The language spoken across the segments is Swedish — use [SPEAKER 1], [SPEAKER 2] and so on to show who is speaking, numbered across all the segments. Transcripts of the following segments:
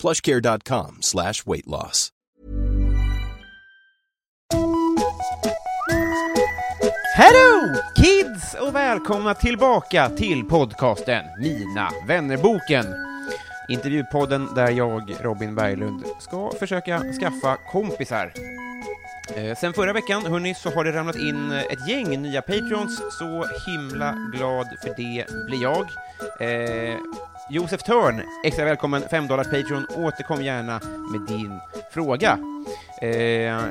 [SPEAKER 1] Plushcare.com slash weight loss.
[SPEAKER 2] Hello kids och välkomna tillbaka till podcasten Mina vännerboken. Intervjupodden där jag, Robin Berglund, ska försöka skaffa kompisar. Eh, sen förra veckan, hörni, så har det ramlat in eh, ett gäng nya Patreons. Så himla glad för det blir jag. Eh, Josef Törn, extra välkommen, 5 dollars Patreon. Återkom gärna med din fråga. Eh,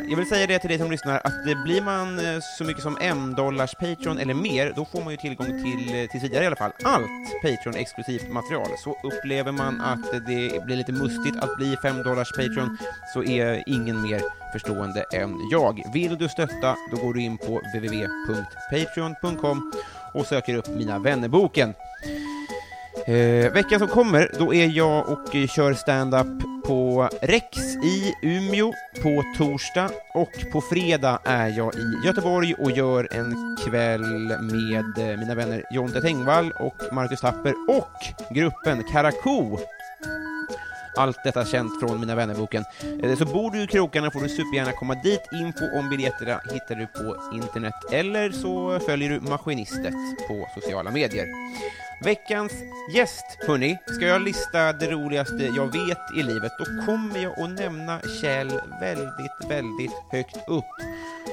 [SPEAKER 2] jag vill säga det till dig som lyssnar, att eh, blir man eh, så mycket som 1 dollars Patreon eller mer, då får man ju tillgång till, eh, tills vidare i alla fall, allt Patreon-exklusivt material. Så upplever man att eh, det blir lite mustigt att bli 5 dollars Patreon, så är ingen mer förstående än jag. Vill du stötta, då går du in på www.patreon.com och söker upp Mina vännerboken. Eh, veckan som kommer, då är jag och eh, kör stand-up på Rex i Umeå på torsdag och på fredag är jag i Göteborg och gör en kväll med eh, mina vänner Jonte Tengvall och Marcus Tapper och gruppen Karakou. Allt detta känt från Mina vännerboken. Eh, Så bor du i krokarna får du supergärna komma dit. Info om biljetterna hittar du på internet eller så följer du Maskinistet på sociala medier. Veckans gäst, hörni, ska jag lista det roligaste jag vet i livet, då kommer jag att nämna Kjell väldigt, väldigt högt upp.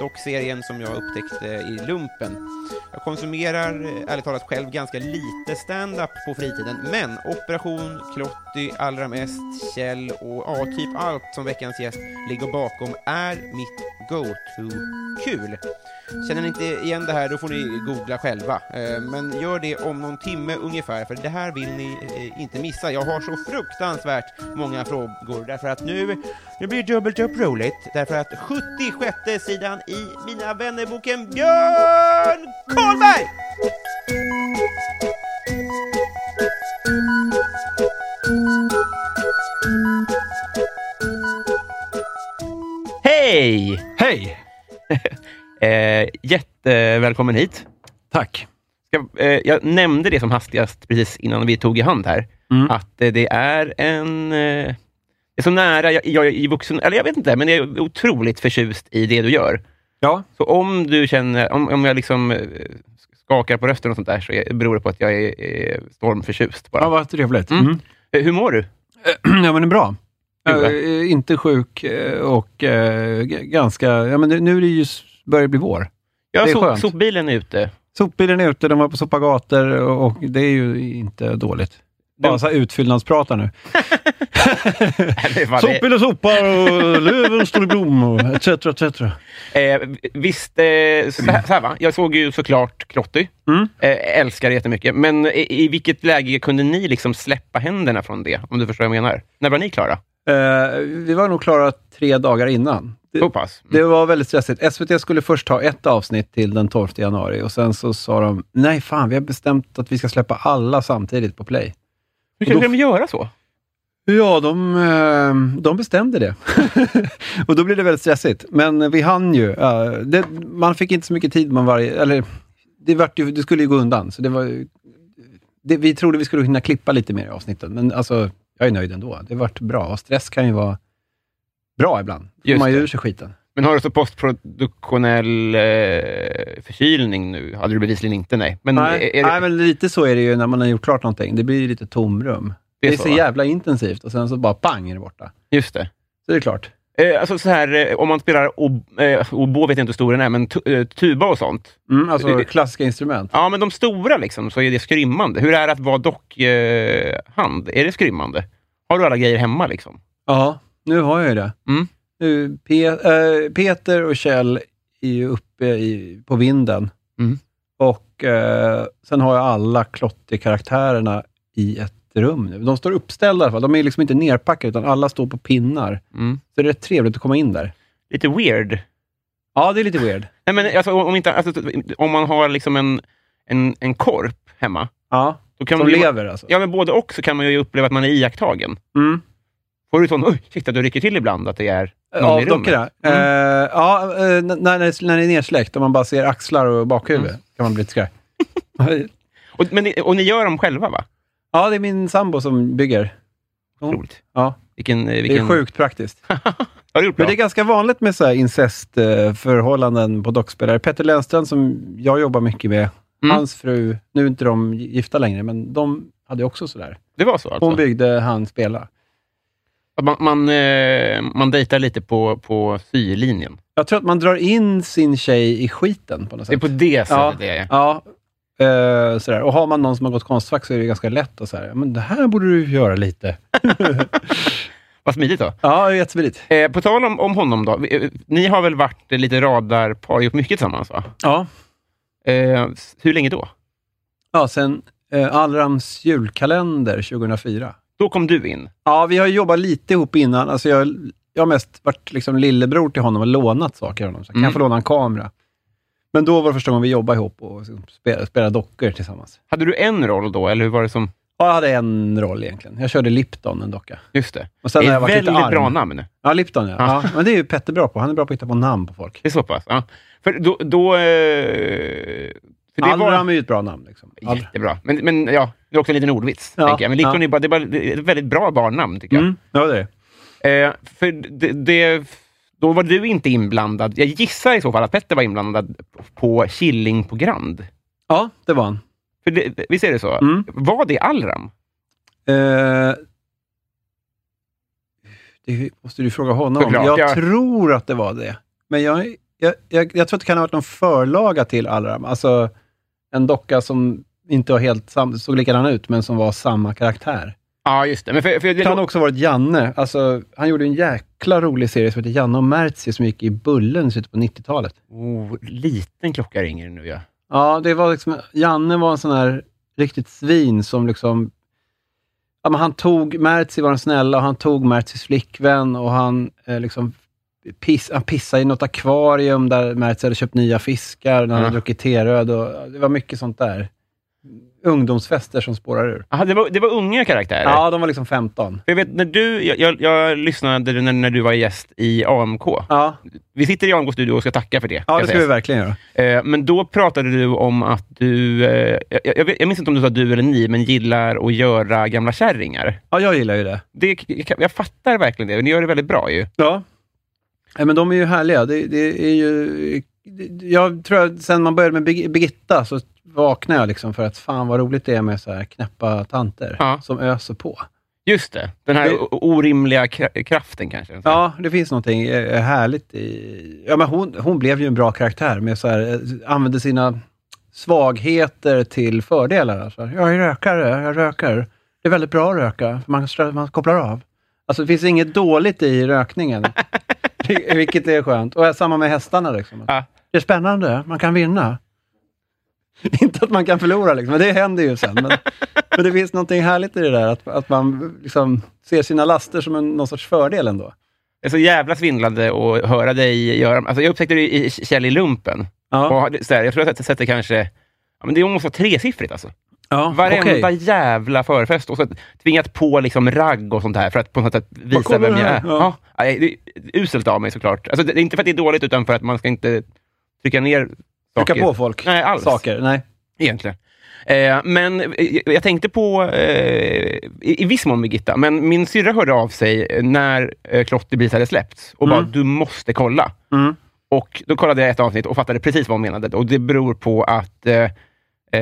[SPEAKER 2] Dock serien som jag upptäckte i lumpen. Jag konsumerar, eh, ärligt talat, själv ganska lite stand-up på fritiden, men Operation, Klotty, Allra mest, Kjell och ja, typ allt som veckans gäst ligger bakom är mitt go-to-kul. Känner ni inte igen det här, då får ni googla själva. Eh, Men gör det om någon timme ungefär, för det här vill ni eh, inte missa. Jag har så fruktansvärt många frågor, därför att nu, nu blir det dubbelt upp roligt, därför att 76 sidan i Mina vännerboken Björn Karlberg! Hej!
[SPEAKER 3] Hej!
[SPEAKER 2] Eh, jättevälkommen hit.
[SPEAKER 3] Tack.
[SPEAKER 2] Ska, eh, jag nämnde det som hastigast precis innan vi tog i hand här,
[SPEAKER 3] Mm.
[SPEAKER 2] att eh, det är en... Eh, det är så nära jag, jag är i vuxen... Eller jag vet inte, men jag är otroligt förtjust i det du gör.
[SPEAKER 3] Ja,
[SPEAKER 2] Så om du känner... Om, om jag liksom eh, skakar på rösten och sånt där, så är, beror det på att jag är, är stormförtjust bara.
[SPEAKER 3] ja vad trevligt.
[SPEAKER 2] Mm.
[SPEAKER 3] Mm.
[SPEAKER 2] Eh, Hur mår du?
[SPEAKER 3] Ja, men det är bra.
[SPEAKER 2] Kul, va?
[SPEAKER 3] Jag är inte sjuk eh, och eh, g- ganska... Ja, men nu- nu är det ju, s- börjar det bli vår.
[SPEAKER 2] Ja,
[SPEAKER 3] Det är
[SPEAKER 2] so,
[SPEAKER 3] skönt.
[SPEAKER 2] sopbilen är ute.
[SPEAKER 3] Sopbilen är ute, de var på sopagator och och det är ju inte dåligt. Bara så här utfyllnadspratar nu.
[SPEAKER 2] Eller vad det-
[SPEAKER 3] Sopbilen sopar och löven står i blom och etc. etc.
[SPEAKER 2] Eh, visst, eh, så, här, så här va. Jag såg ju såklart Krotty.
[SPEAKER 3] Mm.
[SPEAKER 2] Eh, älskar det jättemycket. Men i, i vilket läge kunde ni liksom släppa händerna från det? Om du förstår vad jag menar. När var ni klara?
[SPEAKER 3] Eh, vi var nog klara tre dagar innan. Det-
[SPEAKER 2] Så pass? Mm.
[SPEAKER 3] Det var väldigt stressigt. SVT skulle först ha ett avsnitt till den 12 januari och sen så sa de, nej fan, vi har bestämt att vi ska släppa alla samtidigt på play.
[SPEAKER 2] Hur kunde de göra så?
[SPEAKER 3] Ja, de, eh, de bestämde det. och då blev det väldigt stressigt. Men vi hann ju. eh, Det, man fick inte så mycket tid. Man varje, eller, det, vart ju, det skulle ju gå undan. Så det var, ju- det, vi trodde vi skulle hinna klippa lite mer i avsnitten, men alltså, jag är nöjd ändå. Det vart bra. Och stress kan ju vara bra ibland. Då får
[SPEAKER 2] Just
[SPEAKER 3] man ju
[SPEAKER 2] det.
[SPEAKER 3] ur sig skiten.
[SPEAKER 2] Men har du så alltså postproduktionell eh, förkylning nu? Hade du bevisligen inte, nej. Men
[SPEAKER 3] Nej,
[SPEAKER 2] Mm, är, är,
[SPEAKER 3] nej, men lite så är det ju när man har gjort klart någonting. Det blir ju lite tomrum.
[SPEAKER 2] det
[SPEAKER 3] Det
[SPEAKER 2] är
[SPEAKER 3] är
[SPEAKER 2] så,
[SPEAKER 3] så
[SPEAKER 2] va?
[SPEAKER 3] jävla intensivt och sen så bara pang är det borta.
[SPEAKER 2] Just det.
[SPEAKER 3] Så det är klart.
[SPEAKER 2] Eh, alltså så här, eh, om man spelar ob, eh, obo, vet jag inte hur stor den är, men tu, eh, tuba och sånt.
[SPEAKER 3] Mm, alltså klassiska instrument.
[SPEAKER 2] Ja, men de stora liksom, så är det skrymmande. Hur är det att vara dockhand? Eh, hand? är det skrymmande? Har du alla grejer hemma liksom?
[SPEAKER 3] Ja, nu har jag ju det.
[SPEAKER 2] Mm.
[SPEAKER 3] Nu, Pe eh, Peter och Kjell är ju uppe i, på vinden.
[SPEAKER 2] Mm.
[SPEAKER 3] Och eh, sen har jag alla klotterkaraktärerna i ett rum nu. De står uppställda i alla fall. De är liksom inte nerpackade, utan alla står på pinnar.
[SPEAKER 2] Mm.
[SPEAKER 3] Så det är rätt trevligt att komma in där.
[SPEAKER 2] Lite weird.
[SPEAKER 3] Ja, det är lite weird.
[SPEAKER 2] Nej, men alltså, om, inte, alltså, om man har liksom en, en, en korp hemma.
[SPEAKER 3] Ja,
[SPEAKER 2] Då kan
[SPEAKER 3] som
[SPEAKER 2] man ju,
[SPEAKER 3] lever alltså.
[SPEAKER 2] Ja, men både och så kan man ju uppleva att man är iakttagen.
[SPEAKER 3] Mm.
[SPEAKER 2] Får du sån, oj, shit, att du rycker till ibland, att det är någon i
[SPEAKER 3] Av
[SPEAKER 2] rummet?
[SPEAKER 3] dockorna?
[SPEAKER 2] Mm.
[SPEAKER 3] Eh, ja, eh, n- när, när, när det är nersläckt och man bara ser axlar och bakhuvud
[SPEAKER 2] Mm.
[SPEAKER 3] kan man bli lite skraj.
[SPEAKER 2] Och, men, ni- och ni gör dem själva, va?
[SPEAKER 3] ja, det är min sambo som bygger. Mm.
[SPEAKER 2] Roligt.
[SPEAKER 3] Ja,
[SPEAKER 2] Vilken, eh,
[SPEAKER 3] det
[SPEAKER 2] vilken...
[SPEAKER 3] är sjukt praktiskt.
[SPEAKER 2] Har du gjort bra?
[SPEAKER 3] Men det är ganska vanligt med så här incestförhållanden på dockspelare. Petter Lennström, som jag jobbar mycket med,
[SPEAKER 2] Mm.
[SPEAKER 3] hans fru, nu är inte de gifta längre, men de hade också sådär.
[SPEAKER 2] Det var så alltså?
[SPEAKER 3] Hon byggde, han spela.
[SPEAKER 2] Att man, man, eh, man dejtar lite på, på sylinjen.
[SPEAKER 3] Jag tror att man drar in sin tjej i skiten på något
[SPEAKER 2] Det är
[SPEAKER 3] sätt.
[SPEAKER 2] på det sättet
[SPEAKER 3] Ja.
[SPEAKER 2] det är.
[SPEAKER 3] Ja, eh, sådär. Och har man någon som har gått konstfack så är det ganska lätt att säga, men det här borde du göra lite.
[SPEAKER 2] Vad smidigt då.
[SPEAKER 3] Ja, det är jättesmidigt.
[SPEAKER 2] Eh, på tal om, om honom då. Vi- eh, Ni har väl varit eh, lite radarpar, gjort mycket tillsammans va?
[SPEAKER 3] Ja.
[SPEAKER 2] Eh, s- hur länge då?
[SPEAKER 3] ja, sen eh, Allrams julkalender 2004.
[SPEAKER 2] Då kom du in.
[SPEAKER 3] Ja, vi har ju jobbat lite ihop innan. Alltså jag, jag har mest varit liksom lillebror till honom och lånat saker av honom. Så jag kan
[SPEAKER 2] Mm.
[SPEAKER 3] jag få låna en kamera? Men då var det första gången vi jobbade ihop och liksom spelade, spelade dockor tillsammans.
[SPEAKER 2] Hade du en roll då, eller hur var det som...
[SPEAKER 3] Ja, jag hade en roll egentligen. Jag körde Lipton, en docka.
[SPEAKER 2] Just det.
[SPEAKER 3] Och
[SPEAKER 2] Det
[SPEAKER 3] sen har
[SPEAKER 2] är
[SPEAKER 3] jag
[SPEAKER 2] ett
[SPEAKER 3] varit lite
[SPEAKER 2] väldigt
[SPEAKER 3] arm.
[SPEAKER 2] bra namn.
[SPEAKER 3] Ja, Lipton ja.
[SPEAKER 2] Ja.
[SPEAKER 3] ja. Men det är ju Petter bra på. Han är bra på att hitta på namn på folk.
[SPEAKER 2] Det är så pass? Ja. För då... då eh, för det var...
[SPEAKER 3] Allram är ju ett bra namn. Liksom. Allram.
[SPEAKER 2] Jättebra. Men, men ja, det är också en liten ordvits.
[SPEAKER 3] Ja,
[SPEAKER 2] tänker jag. Men Lipton
[SPEAKER 3] ja.
[SPEAKER 2] är, bara, det är, bara, det är ett väldigt bra barnnamn, tycker jag.
[SPEAKER 3] Mm. Ja, det är det.
[SPEAKER 2] Eh, för det, det, då var du inte inblandad. Jag gissar i så fall att Petter var inblandad på Killing på Grand.
[SPEAKER 3] Ja, det var han.
[SPEAKER 2] För det, visst är det så?
[SPEAKER 3] Mm.
[SPEAKER 2] Var det Allram?
[SPEAKER 3] Eh, det måste du fråga honom om.
[SPEAKER 2] Såklart,
[SPEAKER 3] Jag
[SPEAKER 2] ja.
[SPEAKER 3] tror att det var det. Men jag, jag, jag, jag tror att det kan ha varit någon förlaga till Allram. Alltså en docka som inte var helt sam, såg likadan ut, men som var samma karaktär.
[SPEAKER 2] Ja, just det. Men för, för det
[SPEAKER 3] Det kan också ha varit Janne. Alltså, han gjorde en jäkla rolig serie som heter Janne och Merzi som gick i Bullen i slutet på 90-talet.
[SPEAKER 2] oh, liten klocka ringer nu, ja.
[SPEAKER 3] Ja, det var liksom, Janne var en sån här riktigt svin som liksom... Ja, men han tog, Mertzi var den snälla och han tog Mertzis flickvän och han eh, liksom piss, han pissade i något akvarium där Mertzi hade köpt nya fiskar när han
[SPEAKER 2] Ja.
[SPEAKER 3] hade druckit teröd. Och, ja, det var mycket sånt där. Ungdomsfester som spårar ur.
[SPEAKER 2] Aha, det, var, det var unga karaktärer.
[SPEAKER 3] Ja, de var liksom 15.
[SPEAKER 2] För jag, vet, när du, jag, jag, jag lyssnade när, när du var gäst i AMK.
[SPEAKER 3] Ja,
[SPEAKER 2] Vi sitter i AMK-studio och ska tacka för det.
[SPEAKER 3] ja
[SPEAKER 2] ska
[SPEAKER 3] det ska vi
[SPEAKER 2] sägas.
[SPEAKER 3] verkligen göra.
[SPEAKER 2] Eh, Men då pratade du om att du, eh, jag, jag, vet- jag minns inte om du sa du eller ni, men gillar att göra gamla kärringar.
[SPEAKER 3] Ja, jag gillar ju det.
[SPEAKER 2] Det, jag fattar verkligen det. Ni gör det väldigt bra ju.
[SPEAKER 3] Ja. Nej, men de är ju härliga. Det, det är ju... det- Jag tror att sen man började med Birg- Birgitta så vaknade jag liksom för att fan vad roligt det är med så här knäppa tanter
[SPEAKER 2] Ja.
[SPEAKER 3] som öser på.
[SPEAKER 2] Just det. Den här
[SPEAKER 3] Det-
[SPEAKER 2] o- orimliga kra- kraften kanske.
[SPEAKER 3] Ja, det finns någonting eh, härligt i... Ja, men hon, hon blev ju en bra karaktär med så här, eh, använde sina svagheter till fördelar. Så här, jag är rökare, jag röker. Det är väldigt bra att röka, för man, strö- man kopplar av. Alltså det finns inget dåligt i rökningen, vilket är skönt. Och samma med hästarna. Liksom.
[SPEAKER 2] Ja.
[SPEAKER 3] Det är spännande, man kan vinna. Inte att man kan förlora, liksom, men det händer ju sen. Men, men det finns någonting härligt i det där, att, att man liksom ser sina laster som en, någon sorts fördel ändå.
[SPEAKER 2] Jag är så jävla svindlade att höra dig göra... Alltså jag upptäckte det i Kjell i lumpen.
[SPEAKER 3] Ja,
[SPEAKER 2] Och det- så här, jag tror att jag sett- sett det kanske... Ja, men det måste vara tresiffrigt alltså.
[SPEAKER 3] ja
[SPEAKER 2] Varenda jävla förfest. Och så tvingat på liksom ragg och sånt här för att på något sätt visa
[SPEAKER 3] kolla
[SPEAKER 2] vem
[SPEAKER 3] det
[SPEAKER 2] jag
[SPEAKER 3] här.
[SPEAKER 2] är. Ja.
[SPEAKER 3] Ja.
[SPEAKER 2] nej, det är uselt av mig såklart. Alltså, det det är inte för att det är dåligt, utan för att man ska inte trycka ner saker.
[SPEAKER 3] Trycka på folk.
[SPEAKER 2] Nej, alls.
[SPEAKER 3] Saker. Nej.
[SPEAKER 2] egentligen. Eh, men eh, jag tänkte på, eh, i, i viss mån Birgitta, men min syrra hörde av sig när eh, Klotterbis hade släppts och bara, du måste kolla.
[SPEAKER 3] Mm.
[SPEAKER 2] Och då kollade jag ett avsnitt och fattade precis vad hon menade. Och det beror på att, eh, eh, nu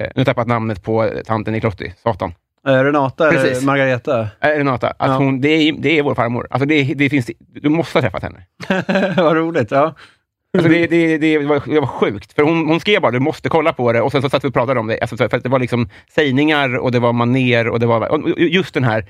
[SPEAKER 2] har jag tappat namnet på tanten i Klotty, Satan.
[SPEAKER 3] Eh, Renata eller
[SPEAKER 2] Precis.
[SPEAKER 3] Margareta?
[SPEAKER 2] Eh, Renata, att
[SPEAKER 3] Ja.
[SPEAKER 2] hon, det, är, det är vår farmor. Alltså det, det finns, du måste ha träffat henne.
[SPEAKER 3] Vad roligt. Ja.
[SPEAKER 2] Alltså det, det, det, var, det var sjukt. För hon, hon skrev bara du måste kolla på det och sen så satt vi och pratade om det. Alltså, för att det var liksom sägningar och det var maner och det var och just den här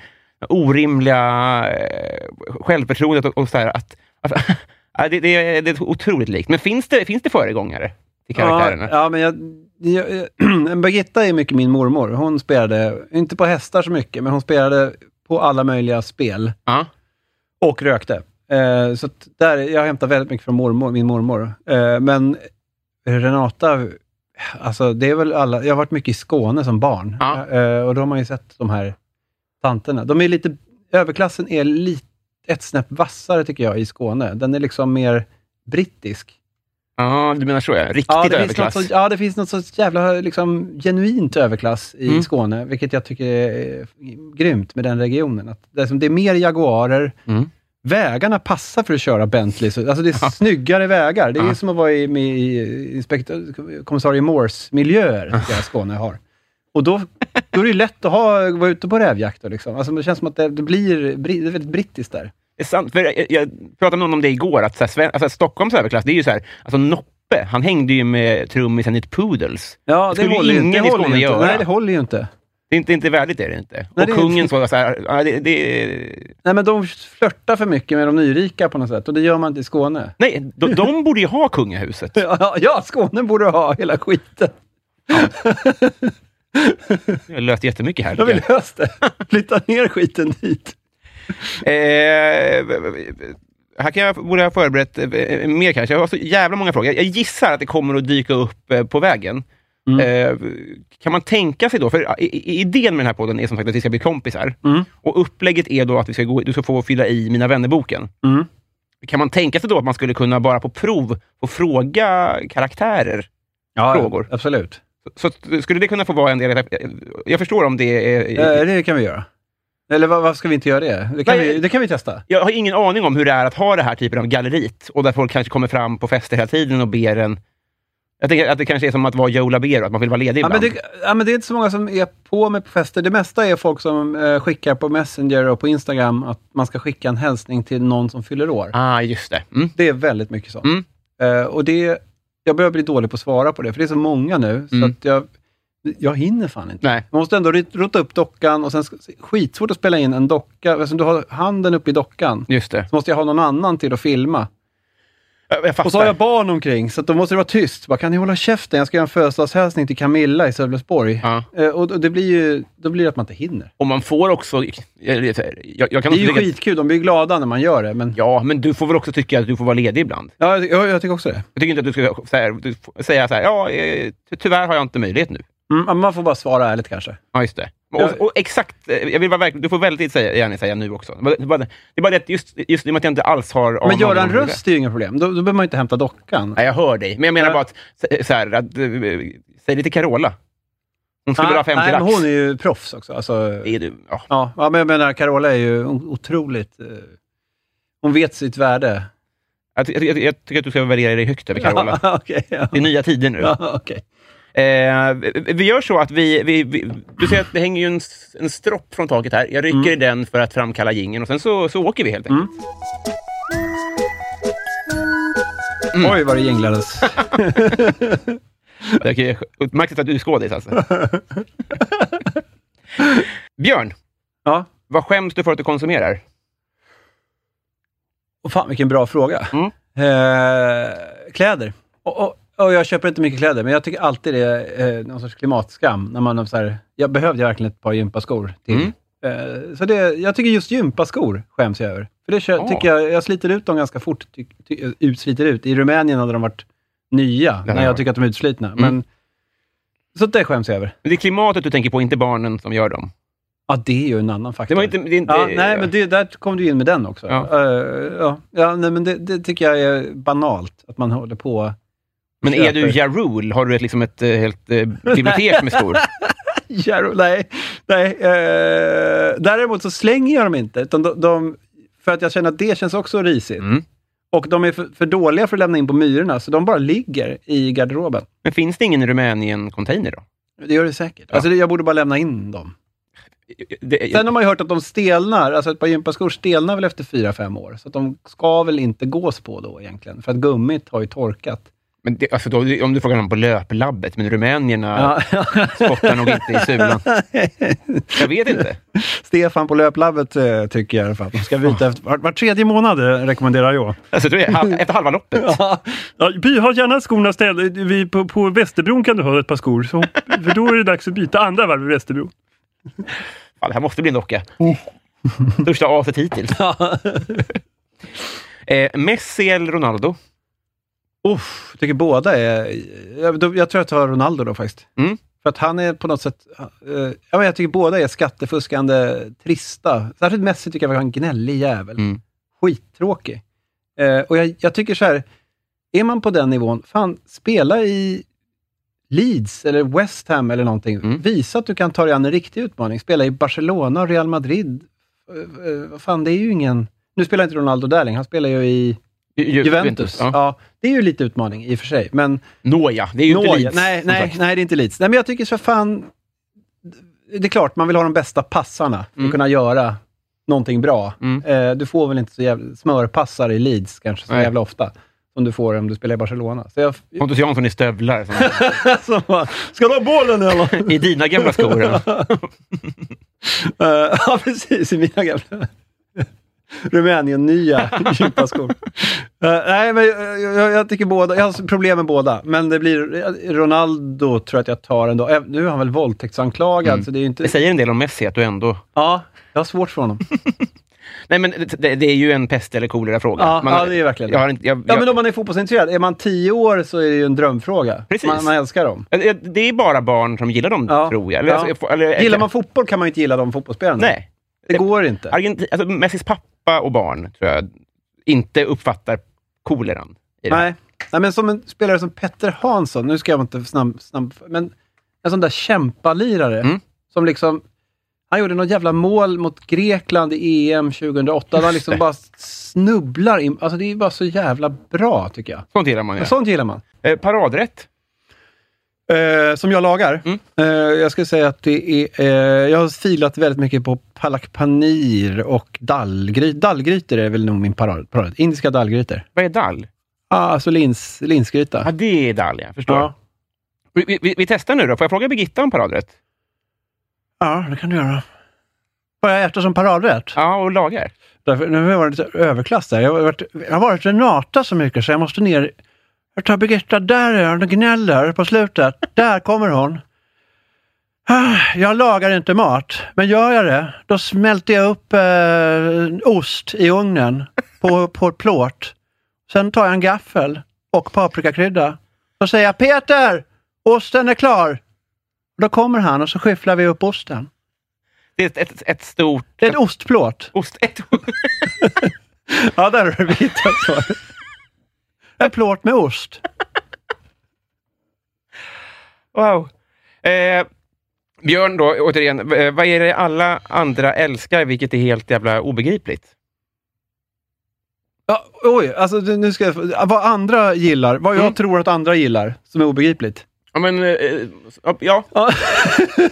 [SPEAKER 2] orimliga eh, självförtroendet och, och så här att... att ja, det, det, det är otroligt likt. Men finns det, finns det föregångare till karaktärerna?
[SPEAKER 3] Ja, ja, men jag, jag, jag, Birgitta är mycket min mormor. Hon spelade, inte på hästar så mycket, men hon spelade på alla möjliga spel
[SPEAKER 2] Ja.
[SPEAKER 3] och rökte. Eh, så att där, jag hämtar väldigt mycket från mormor, min mormor. Eh, men Renata, alltså det är väl alla, jag har varit mycket i Skåne som barn
[SPEAKER 2] Ja.
[SPEAKER 3] eh, och då har man ju sett de här tanterna. De är lite, överklassen är lite, ett snäpp vassare tycker jag i Skåne. Den är liksom mer brittisk.
[SPEAKER 2] Ja, du menar så ja. Riktigt
[SPEAKER 3] Ja det, finns något
[SPEAKER 2] överklass.
[SPEAKER 3] så, ja, det finns något så jävla liksom, genuint överklass i
[SPEAKER 2] Mm.
[SPEAKER 3] Skåne, vilket jag tycker är eh, grymt med den regionen. Att det, är som, det är mer Jaguarer,
[SPEAKER 2] Mm.
[SPEAKER 3] vägarna passar för att köra Bentley. Så, alltså det är snyggare vägar. Det är
[SPEAKER 2] Ja.
[SPEAKER 3] som att vara i, med, i inspektör, kommissarie Morse-miljöer, tycker jag Skåne har. Och då, då är det ju lätt att ha, vara ute på rävjakt. Då, liksom. alltså, det känns som att det, det blir bri- det är väldigt brittiskt där.
[SPEAKER 2] Det är sant, för jag, jag pratade med någon om det igår, att så här, Sven, alltså, Stockholms överklass, det är ju så här, alltså Noppe, han hängde ju med trummisen i ett Poodles.
[SPEAKER 3] Ja,
[SPEAKER 2] skulle ju ingen i Skåne
[SPEAKER 3] ju inte.
[SPEAKER 2] göra.
[SPEAKER 3] Nej, det håller ju inte.
[SPEAKER 2] Det är inte, inte värdigt, är det inte.
[SPEAKER 3] Nej,
[SPEAKER 2] och
[SPEAKER 3] det är-
[SPEAKER 2] kungen så, så här, ja, det, det,
[SPEAKER 3] Nej, men de flörtar för mycket med de nyrika på något sätt och det gör man inte i Skåne.
[SPEAKER 2] nej, de, de borde ju ha kungahuset.
[SPEAKER 3] Ja, ja Skåne borde ha hela skiten.
[SPEAKER 2] Jag har löst jättemycket här.
[SPEAKER 3] Jag
[SPEAKER 2] tycker
[SPEAKER 3] vill lösa det. Flytta ner skiten dit.
[SPEAKER 2] jag. Eh, här kan jag, borde jag ha förberett eh, mer kanske. Jag har så jävla många frågor. Jag gissar att det kommer att dyka upp eh, på vägen.
[SPEAKER 3] Mm.
[SPEAKER 2] Eh, kan man tänka sig då, för eh, i, i, idén med den här podden är som sagt att vi ska bli kompisar.
[SPEAKER 3] Mm.
[SPEAKER 2] Och upplägget är då att vi ska gå, du ska få fylla i Mina vännerboken.
[SPEAKER 3] Mm.
[SPEAKER 2] Kan man tänka sig då att man skulle kunna bara på prov få fråga karaktärer?
[SPEAKER 3] Ja,
[SPEAKER 2] Frågor.
[SPEAKER 3] Absolut.
[SPEAKER 2] Så att- skulle det kunna få vara en del... Jag förstår om det
[SPEAKER 3] Eh,
[SPEAKER 2] är...
[SPEAKER 3] det kan vi göra. Eller va- varför ska vi inte göra det? Det kan,
[SPEAKER 2] Nej.
[SPEAKER 3] vi, det kan vi testa.
[SPEAKER 2] Jag har ingen aning om hur det är att ha det här typen av galleriet och där folk kanske kommer fram på fester hela tiden och ber en... Jag tänker att det kanske är som att vara Joe Labero, att man vill vara ledig
[SPEAKER 3] Ja men,
[SPEAKER 2] ibland.
[SPEAKER 3] det, ja, men det är inte så många som är på med på fester. Det mesta är folk som eh, skickar på Messenger och på Instagram att man ska skicka en hälsning till någon som fyller år.
[SPEAKER 2] Ah, just det. Mm.
[SPEAKER 3] Det är väldigt mycket sånt.
[SPEAKER 2] Mm.
[SPEAKER 3] Eh, och det, jag börjar bli dålig på att svara på det, för det är så många nu,
[SPEAKER 2] Mm.
[SPEAKER 3] så att jag, jag hinner fan inte.
[SPEAKER 2] Nej.
[SPEAKER 3] Man måste ändå rit- rota upp dockan och sen ska- skitsvårt att spela in en docka. Eftersom du har handen uppe i dockan,
[SPEAKER 2] Just det.
[SPEAKER 3] så måste jag ha någon annan till att filma.
[SPEAKER 2] Jag, jag fattar.
[SPEAKER 3] Och så har jag barn omkring, så att då måste det vara tyst. Bara, kan ni hålla käften? Jag ska göra en födelsedagshälsning till Camilla i Sölvesborg.
[SPEAKER 2] Ja.
[SPEAKER 3] Eh, och och det blir ju, då blir det att man inte hinner.
[SPEAKER 2] Och man får också... Jag, jag, jag kan
[SPEAKER 3] Det är ju
[SPEAKER 2] också tycka-
[SPEAKER 3] skitkul, de blir ju glada när man gör det. Men,
[SPEAKER 2] Ja, men du får väl också tycka att du får vara ledig ibland?
[SPEAKER 3] ja, jag, jag tycker också det.
[SPEAKER 2] Jag tycker inte att du ska så här, du får säga så här, ja, eh, ty- tyvärr har jag inte möjlighet nu.
[SPEAKER 3] Mm, men man får bara svara ärligt kanske.
[SPEAKER 2] Ja, just det.
[SPEAKER 3] Ja.
[SPEAKER 2] Och, och exakt, eh, jag vill vara verkligen, du får väldigt säga, gärna säga nu också. Det är bara det är bara det att just, just i och med att jag inte alls har... aning
[SPEAKER 3] Men
[SPEAKER 2] om
[SPEAKER 3] göra en
[SPEAKER 2] vad det är.
[SPEAKER 3] röst är ju inga problem. Då, då behöver man ju inte hämta dockan.
[SPEAKER 2] Nej, jag hör dig. Men jag menar
[SPEAKER 3] Ja.
[SPEAKER 2] bara att, så- så här, att, eh, säg det till Carola. Hon skulle ha 50
[SPEAKER 3] nej, men
[SPEAKER 2] lax.
[SPEAKER 3] hon är ju proffs också. Alltså,
[SPEAKER 2] Det är du. Ja.
[SPEAKER 3] ja, ja, men jag menar, Carola är ju o- otroligt... eh, hon vet sitt värde.
[SPEAKER 2] Jag, ty- jag, ty- jag tycker att du ska värdera dig högt över Carola.
[SPEAKER 3] Ja, Okej. ja.
[SPEAKER 2] Det är nya tider nu.
[SPEAKER 3] Ja, okej.
[SPEAKER 2] Eh, vi- vi gör så att vi, vi, vi... Du ser att det hänger ju en, s- en stropp från taket här. Jag rycker
[SPEAKER 3] Mm.
[SPEAKER 2] i den för att framkalla jingeln och sen så, så åker vi helt enkelt.
[SPEAKER 3] Oj, vad det jinglades.
[SPEAKER 2] Jag kan utmärkt att du är skådis alltså. Björn,
[SPEAKER 3] ja.
[SPEAKER 2] vad skäms du för att du konsumerar?
[SPEAKER 3] Och fan, vilken bra fråga.
[SPEAKER 2] Mm.
[SPEAKER 3] Eh, kläder. Och, och, och jag köper inte mycket kläder, men jag tycker alltid det är eh, någon sorts klimatskam. När man har så här, jag behövde verkligen ett par gympaskor till.
[SPEAKER 2] Mm.
[SPEAKER 3] Eh, så det, jag tycker just gympaskor skäms jag över. För det kö,
[SPEAKER 2] Ah.
[SPEAKER 3] tycker jag, jag sliter ut dem ganska fort. Ty, ty, utsliter ut. I Rumänien hade de varit nya,
[SPEAKER 2] Den här
[SPEAKER 3] när
[SPEAKER 2] Mm.
[SPEAKER 3] jag
[SPEAKER 2] var-
[SPEAKER 3] tycker att de är utslitna. Men, så det skäms jag över.
[SPEAKER 2] Men Det är klimatet du tänker på, inte barnen som gör dem.
[SPEAKER 3] Ja, det är ju en annan faktor.
[SPEAKER 2] Det var inte... Det är inte
[SPEAKER 3] Ja, nej, men det, där kom du in med den också.
[SPEAKER 2] Ja.
[SPEAKER 3] Eh, ja. Ja, nej, men det, det tycker jag är banalt, att man håller på...
[SPEAKER 2] Men är du
[SPEAKER 3] köper.
[SPEAKER 2] Ja Rule? Har du ett, liksom ett eh, helt eh, bibliotek med skor?
[SPEAKER 3] Jarro, nej, nej. eh, däremot så slänger jag dem inte, utan de, de, för att jag känner att det känns också risigt.
[SPEAKER 2] Mm.
[SPEAKER 3] Och de är för, för dåliga för att lämna in på myrorna, så de bara ligger i garderoben.
[SPEAKER 2] Men finns det ingen Rumänien-container då?
[SPEAKER 3] Det gör det säkert.
[SPEAKER 2] Ja.
[SPEAKER 3] Alltså, det, jag borde bara lämna in dem.
[SPEAKER 2] det,
[SPEAKER 3] Sen har man ju hört att de stelnar, alltså ett par gympaskor stelnar väl efter fyra fem år, så att de ska väl inte gås på då egentligen, för att gummit har ju torkat.
[SPEAKER 2] men det, alltså då, om du frågar någon på löplabbet, men rumänierna
[SPEAKER 3] Ja.
[SPEAKER 2] spottar nog inte i sulan. Jag vet inte.
[SPEAKER 3] Stefan på löplabbet eh, tycker jag i alla fall att de ska byta efter, var, var tredje månad, eh, rekommenderar jag.
[SPEAKER 2] Alltså, jag tror det är halv, efter halva loppet.
[SPEAKER 4] Ja, by har gärna skorna ställ. Vi på, på Västerbron kan du ha ett par skor. Så, för då är det dags att byta andra varv i Västerbron.
[SPEAKER 2] Fan, det här måste bli en docka.
[SPEAKER 3] Oh.
[SPEAKER 2] Största aset hittills. eh, Messi eller Ronaldo?
[SPEAKER 3] Uff, jag tycker båda är... Jag, då- jag tror jag tar Ronaldo då faktiskt.
[SPEAKER 2] Mm.
[SPEAKER 3] För att han är på något sätt... eh, ja, men jag tycker båda är skattefuskande trista. Särskilt Messi tycker jag var en gnällig jävel.
[SPEAKER 2] Mm.
[SPEAKER 3] Skittråkig. Eh, och jag, jag tycker så här, är man på den nivån, fan, spela i Leeds eller West Ham eller någonting.
[SPEAKER 2] Mm.
[SPEAKER 3] Visa att du kan ta dig an en riktig utmaning. Spela i Barcelona, Real Madrid. Eh, eh, Vad fan, det är ju ingen... Nu spelar inte Ronaldo där längre, han spelar ju i...
[SPEAKER 2] Ju- ju-
[SPEAKER 3] Juventus.
[SPEAKER 2] Ja.
[SPEAKER 3] Ja. det är ju lite utmaning i och för sig. Men
[SPEAKER 2] Nåja, det är ju
[SPEAKER 3] Nåja,
[SPEAKER 2] inte Leeds.
[SPEAKER 3] nej,
[SPEAKER 2] som
[SPEAKER 3] nej,
[SPEAKER 2] sagt.
[SPEAKER 3] nej, det är inte Leeds. Nej, men jag tycker så fan... Det är klart, man vill ha de bästa passarna för
[SPEAKER 2] Mm.
[SPEAKER 3] att kunna göra någonting bra.
[SPEAKER 2] Mm.
[SPEAKER 3] Eh, du får väl inte så jävla smörpassar i Leeds kanske så
[SPEAKER 2] Nej.
[SPEAKER 3] jävla ofta som du får om du spelar i Barcelona. Så jag,
[SPEAKER 2] Pontus Jansson i stövlar. som-
[SPEAKER 3] som bara, ska du ha bollen eller?
[SPEAKER 2] I dina gamla skor. ja.
[SPEAKER 3] Eh, ja, precis. I mina gamla Rumänien-nya gympaskor. Eh, nej, men jag, jag, jag tycker båda. Jag har problem med båda, men det blir... eh, Ronaldo tror jag att jag tar ändå. Eh, Nu är han väl våldtäktsanklagad,
[SPEAKER 2] Mm.
[SPEAKER 3] så det är ju inte...
[SPEAKER 2] Det säger en del om Messi att du ändå...
[SPEAKER 3] Ja, jag har svårt för honom.
[SPEAKER 2] Nej, men det, det- det är ju en pest eller kolera-fråga.
[SPEAKER 3] Ja,
[SPEAKER 2] Man-
[SPEAKER 3] ja, det är verkligen det.
[SPEAKER 2] jag har inte, jag,
[SPEAKER 3] Ja,
[SPEAKER 2] jag,
[SPEAKER 3] men om man är fotbollsintresserad, är man tio år så är det ju en drömfråga.
[SPEAKER 2] Precis.
[SPEAKER 3] Man, man älskar dem.
[SPEAKER 2] Eh, Det är bara barn som gillar dem,
[SPEAKER 3] Ja.
[SPEAKER 2] tror jag. Eller,
[SPEAKER 3] Ja.
[SPEAKER 2] alltså, jag får- eller,
[SPEAKER 3] Gillar man fotboll kan man ju inte gilla de fotbollsspelarna.
[SPEAKER 2] Nej.
[SPEAKER 3] Det går inte.
[SPEAKER 2] Argenti- alltså, Messis pappa och barn, tror jag, inte uppfattar koleran. i det här.
[SPEAKER 3] Nej. Nej, men som en spelare som Petter Hansson, nu ska jag inte snabb, snabb men en sån där kämpalirare
[SPEAKER 2] Mm.
[SPEAKER 3] som liksom, han gjorde något jävla mål mot Grekland i EM 2008, där han liksom
[SPEAKER 2] det.
[SPEAKER 3] bara snubblar in. Alltså det är ju bara så jävla bra, tycker jag.
[SPEAKER 2] Sånt gillar man ju.
[SPEAKER 3] Sånt gillar man.
[SPEAKER 2] Eh, paradrätt?
[SPEAKER 3] Eh, som jag lagar?
[SPEAKER 2] Mm.
[SPEAKER 3] Eh, jag skulle säga att det är... Eh, jag har filat väldigt mycket på palak panir och dallgry, dallgrytor. är väl nog min parad. parad. Indiska dallgrytor.
[SPEAKER 2] Vad är dall?
[SPEAKER 3] Ah, alltså lins, linsgryta.
[SPEAKER 2] Ja, det är dall, jag förstår.
[SPEAKER 3] Ja.
[SPEAKER 2] Vi, vi- vi, vi testar nu då. Får jag fråga Birgitta om paradrätt?
[SPEAKER 3] Ja, det kan du göra. Får jag äta som paradrätt?
[SPEAKER 2] Ja, och lagar.
[SPEAKER 3] Därför, nu har jag varit lite överklass där. Jag har varit, jag har varit Renata så mycket så jag måste ner. Jag tar Birgitta, där är hon och gnäller på slutet. Där kommer hon. Ah, Jag lagar inte mat, men gör jag det, då smälter jag upp eh, ost i ugnen på, på ett plåt. Sen tar jag en gaffel och paprikakrydda. Då säger jag Peter, osten är klar. Då kommer han och så skyfflar vi upp osten.
[SPEAKER 2] Det är ett, ett, ett stort...
[SPEAKER 3] Det är ett ostplåt.
[SPEAKER 2] Ost, ett,
[SPEAKER 3] Ja, där har du hittat svaret. En plåt med ost.
[SPEAKER 2] wow. Eh, Björn då, återigen. eh, Vad är det alla andra älskar, vilket är helt jävla obegripligt?
[SPEAKER 3] Ja, oj, alltså du- nu ska jag, vad andra gillar, vad jag
[SPEAKER 2] Mm.
[SPEAKER 3] tror att andra gillar, som är obegripligt.
[SPEAKER 2] Ja, men... eh, ja.
[SPEAKER 3] Ja,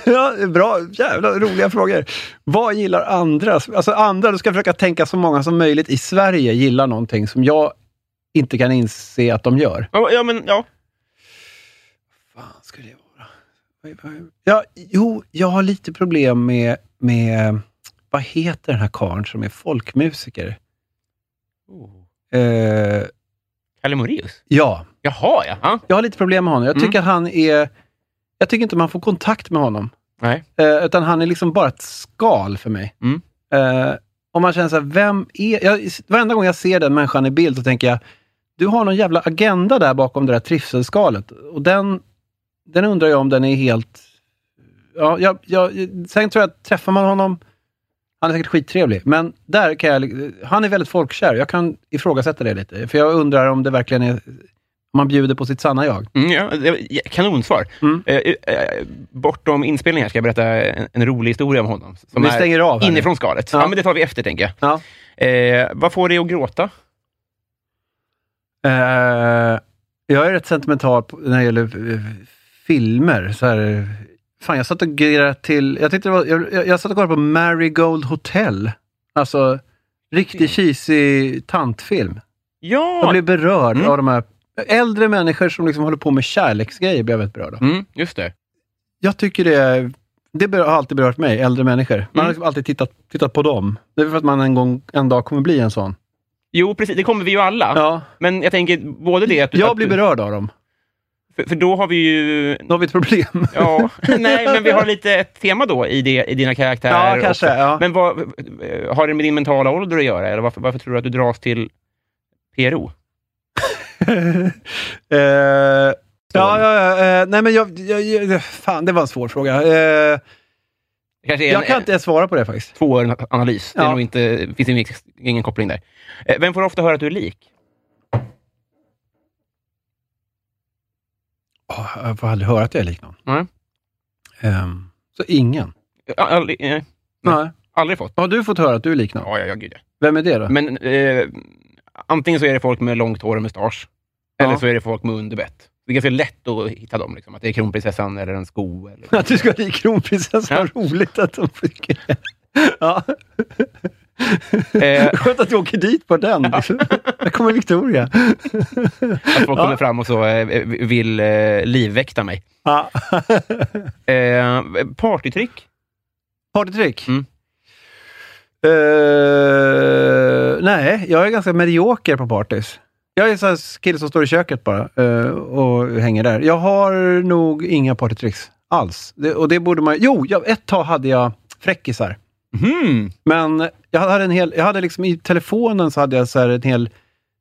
[SPEAKER 3] ja, bra, jävla roliga frågor. Vad gillar andra? Alltså andra, du ska försöka tänka så många som möjligt i Sverige gillar någonting som jag inte kan inse att de gör.
[SPEAKER 2] Ja, ja, men ja.
[SPEAKER 3] fan skulle det vara? Vad är- vad är- Ja, jo, jag har lite problem med, med... Vad heter den här karln som är folkmusiker? Eh,
[SPEAKER 2] Oh. Kalle Moraeus?
[SPEAKER 3] ja,
[SPEAKER 2] Jaha, ja. ja.
[SPEAKER 3] jag har lite problem med honom. Jag
[SPEAKER 2] Mm.
[SPEAKER 3] tycker han är... Jag tycker inte man får kontakt med honom.
[SPEAKER 2] Nej.
[SPEAKER 3] Eh, utan han är liksom bara ett skal för mig.
[SPEAKER 2] Mm.
[SPEAKER 3] Eh, och man känner så här, vem är... Jag, varenda gång jag ser den människan i bild så tänker jag, du har någon jävla agenda där bakom det där trivselskalet. Och den, den undrar jag om den är helt... Ja, jag, jag, sen tror jag att träffar man honom, han är säkert skittrevlig, men där kan jag... Han är väldigt folkkär. Jag kan ifrågasätta det lite, för jag undrar om det verkligen är... Om man bjuder på sitt sanna jag.
[SPEAKER 2] Mm, ja, det var- ja, kanonsvar.
[SPEAKER 3] Mm.
[SPEAKER 2] Eh, eh, bortom inspelningen här ska jag berätta en, en rolig historia om honom. Som
[SPEAKER 3] Vi
[SPEAKER 2] är
[SPEAKER 3] stänger av här nu.
[SPEAKER 2] inifrån skalet. Ja.
[SPEAKER 3] Ja.
[SPEAKER 2] men det tar vi efter, tänker jag.
[SPEAKER 3] Ja.
[SPEAKER 2] Eh, vad får dig att gråta?
[SPEAKER 3] Eh, jag är rätt sentimental på- när det gäller eh, filmer. Så här, Fan, jag satt och grejade till... Jag, tyckte det var, jag, jag, jag satt och kollade på Marigold Hotel. Alltså,
[SPEAKER 2] Mm.
[SPEAKER 3] riktig cheesy tantfilm. Jag
[SPEAKER 2] Ja!
[SPEAKER 3] blev berörd
[SPEAKER 2] Mm.
[SPEAKER 3] av de här äldre människor som liksom håller på med kärleksgrejer. Blev jag väldigt berörd av.
[SPEAKER 2] Mm, just det.
[SPEAKER 3] Jag tycker det, är- det ber- har alltid berört mig, äldre människor. Man har
[SPEAKER 2] Mm.
[SPEAKER 3] liksom alltid tittat, tittat på dem. Det är för att man en, gång, en dag kommer bli en sån.
[SPEAKER 2] Jo, precis. Det kommer vi ju alla.
[SPEAKER 3] Ja,
[SPEAKER 2] Men jag tänker både det att du...
[SPEAKER 3] jag
[SPEAKER 2] att
[SPEAKER 3] blir
[SPEAKER 2] du-
[SPEAKER 3] berörd av dem.
[SPEAKER 2] För, för då har vi ju...
[SPEAKER 3] Då har vi ett problem.
[SPEAKER 2] Ja, nej, men vi har lite ett tema då i, det, i dina karaktärer.
[SPEAKER 3] Ja, kanske.
[SPEAKER 2] också.
[SPEAKER 3] Ja.
[SPEAKER 2] Men vad, eh, har det med din mentala ålder att göra? Eller varför, varför tror du att du dras till PRO?
[SPEAKER 3] Eh, ja, ja, ja. eh, nej, men jag, jag, jag... Fan, det var en svår fråga. Eh,
[SPEAKER 2] Det kanske är en,
[SPEAKER 3] jag kan inte ens svara på det faktiskt.
[SPEAKER 2] tvåårig analys. Det är
[SPEAKER 3] Ja.
[SPEAKER 2] nog inte, finns ingen, ingen koppling där. Eh, Vem får ofta höra att du är lik?
[SPEAKER 3] Åh, jag får aldrig höra att jag är lik någon.
[SPEAKER 2] Nej.
[SPEAKER 3] Ehm, så ingen?
[SPEAKER 2] Eh, Aldrig, eh, Nej.
[SPEAKER 3] Nej.
[SPEAKER 2] aldrig fått.
[SPEAKER 3] Har du fått höra att du är lik någon?
[SPEAKER 2] Ja, ja, ja, gud ja.
[SPEAKER 3] Vem är det då?
[SPEAKER 2] Men eh, antingen så är det folk med långt hår och mustasch, eller
[SPEAKER 3] Ja.
[SPEAKER 2] så är det folk med underbett. Det är ganska lätt att hitta dem. Liksom. Att det är kronprinsessan eller en sko. Eller...
[SPEAKER 3] Att du ska bli kronprinsessan, vad roligt att de tycker det. Ja.
[SPEAKER 2] Eh,
[SPEAKER 3] Skönt att du åker dit på den. Där kommer Victoria.
[SPEAKER 2] att folk
[SPEAKER 3] Ja.
[SPEAKER 2] kommer fram och så eh, vill eh, livväkta mig.
[SPEAKER 3] Ja.
[SPEAKER 2] Eh, partytrick?
[SPEAKER 3] Partytrick?
[SPEAKER 2] Mm.
[SPEAKER 3] Eh, nej, jag är ganska medioker på partys. Jag är en sån här kille som står i köket bara eh, och hänger där. Jag har nog inga partytricks alls. Det, och det borde man... Jo, jag, ett tag hade jag fräckisar.
[SPEAKER 2] Mhm.
[SPEAKER 3] Men jag hade en hel, jag hade liksom i telefonen så hade jag så här en hel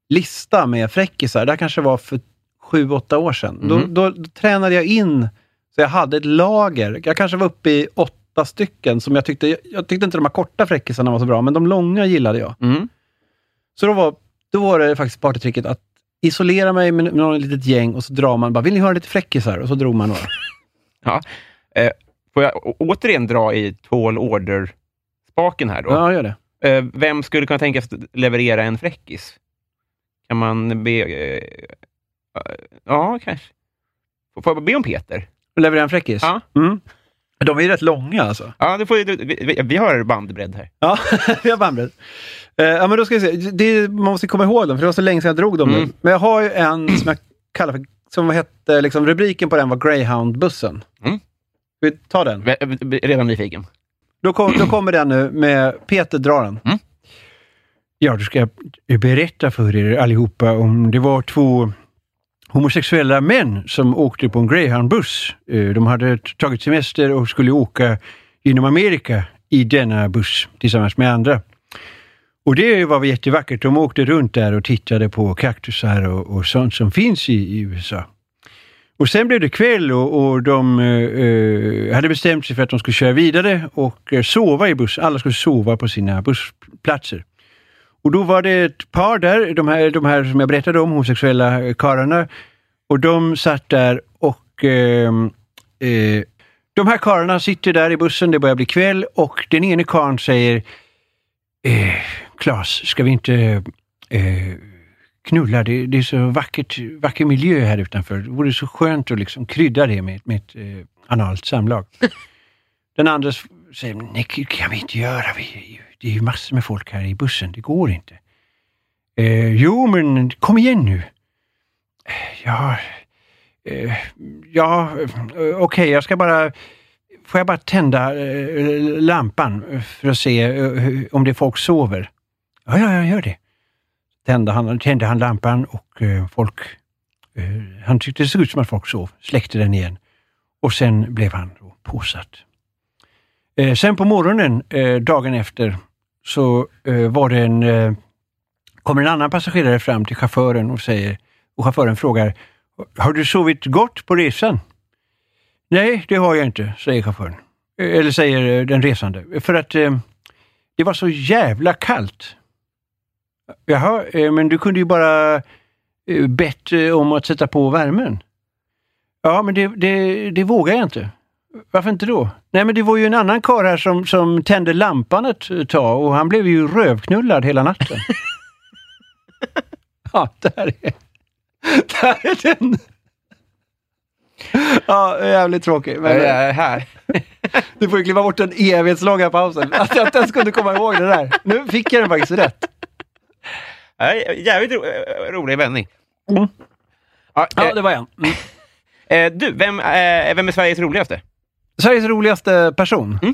[SPEAKER 3] lista med fräckisar. Det här kanske var för sju, åtta år sedan.
[SPEAKER 2] Mhm.
[SPEAKER 3] Då, då, då tränade jag in, så jag hade ett lager. Jag kanske var uppe i åtta stycken som jag tyckte, jag, jag tyckte inte de här korta fräckisarna var så bra, men de långa gillade jag.
[SPEAKER 2] Mm.
[SPEAKER 3] Så då var, då var det faktiskt partytricket att isolera mig med, med något litet gäng och så drar man bara, vill ni höra lite fräckisar? Och så drog man några.
[SPEAKER 2] Får jag å- återigen dra i tall order-spaken här då?
[SPEAKER 3] Ja, gör det.
[SPEAKER 2] Eh, vem skulle kunna tänkas leverera en fräckis? Kan man be... eh, eh, ja, kanske. Får får jag be om Peter?
[SPEAKER 3] Leverera en fräckis?
[SPEAKER 2] Ja.
[SPEAKER 3] Mm. De är ju rätt långa alltså.
[SPEAKER 2] Ja, du får, ju- du, vi, vi har bandbredd här.
[SPEAKER 3] Ja, vi har bandbredd. Eh, ja, men då ska vi se. Det, man måste komma ihåg dem, för det var så länge sedan jag drog dem
[SPEAKER 2] Mm.
[SPEAKER 3] nu. Men jag har ju en som jag kallar för, som hette, liksom, rubriken på den var Greyhound-bussen.
[SPEAKER 2] Mm.
[SPEAKER 3] Ska vi ta den?
[SPEAKER 2] Vä- vä- Redan nyfiken.
[SPEAKER 3] Då, kom, då kommer den nu med Peter drar den.
[SPEAKER 2] Mm.
[SPEAKER 3] Ja, då ska jag berätta för er allihopa om det var två homosexuella män som åkte på en greyhoundbuss. Eh, De hade t- tagit semester och skulle åka genom Amerika i denna buss tillsammans med andra. Och det var jättevackert. De åkte runt där och tittade på kaktusar och, och sånt som finns i, i USA. Och sen blev det kväll och, och de eh, eh, hade bestämt sig för att de skulle köra vidare och eh, sova i bussen. Alla skulle sova på sina bussplatser. Och då var det ett par där, de här, de här som jag berättade om, homosexuella eh, karlarna. Och de satt där och... ehm, eh, de här karlarna sitter där i bussen, det börjar bli kväll och den ene karln säger eh, Klas, ska vi inte... Eh, knulla. Det, det är så vackert, vacker miljö här utanför. Det vore så skönt att liksom krydda det med, med ett eh, analt samlag. Den andra s- säger, nej, det kan vi inte göra. Vi, är ju- det är ju massor med folk här i bussen. Det går inte. Eh, jo, men kom igen nu. "Eh, Ja, eh, ja eh, okej, jag ska bara... Får jag bara tända eh, lampan för att se eh, hur- om det är folk sover? Ja, ja, jag gör det tände han, tände han lampan och eh, folk... Eh, han tyckte det såg ut som att folk sov, släckte den igen. Och sen blev han då påsatt. Eh, sen på morgonen, eh, dagen efter, så eh, var det en... Eh, kommer en annan passagerare fram till chauffören och säger... Och chauffören frågar, har du sovit gott på resan? Nej, det har jag inte, säger chauffören. Eh, Eller säger eh, den resande. För att eh, det var så jävla kallt. Jaha, eh, men du kunde ju bara eh, bett eh, om att sätta på värmen. Ja, men det, det, det vågar jag inte. Varför inte då? Nej, men det var ju en annan karl här som, som tände lampan ett tag och han blev ju rövknullad hela natten. ja, där är, där är den. Ja, jävligt tråkig. Men
[SPEAKER 2] Jag är här.
[SPEAKER 3] du får ju kliva bort den evighetslånga pausen. Att jag inte ens kunde komma ihåg det där. Nu fick jag den faktiskt rätt.
[SPEAKER 2] Nej, Jävligt ro, eh, rolig vändning.
[SPEAKER 3] Mm.
[SPEAKER 2] Ja, eh,
[SPEAKER 3] var en. Mm.
[SPEAKER 2] eh, du, vem, eh, vem är Sveriges roligaste?
[SPEAKER 3] Sveriges roligaste person?
[SPEAKER 2] Mm.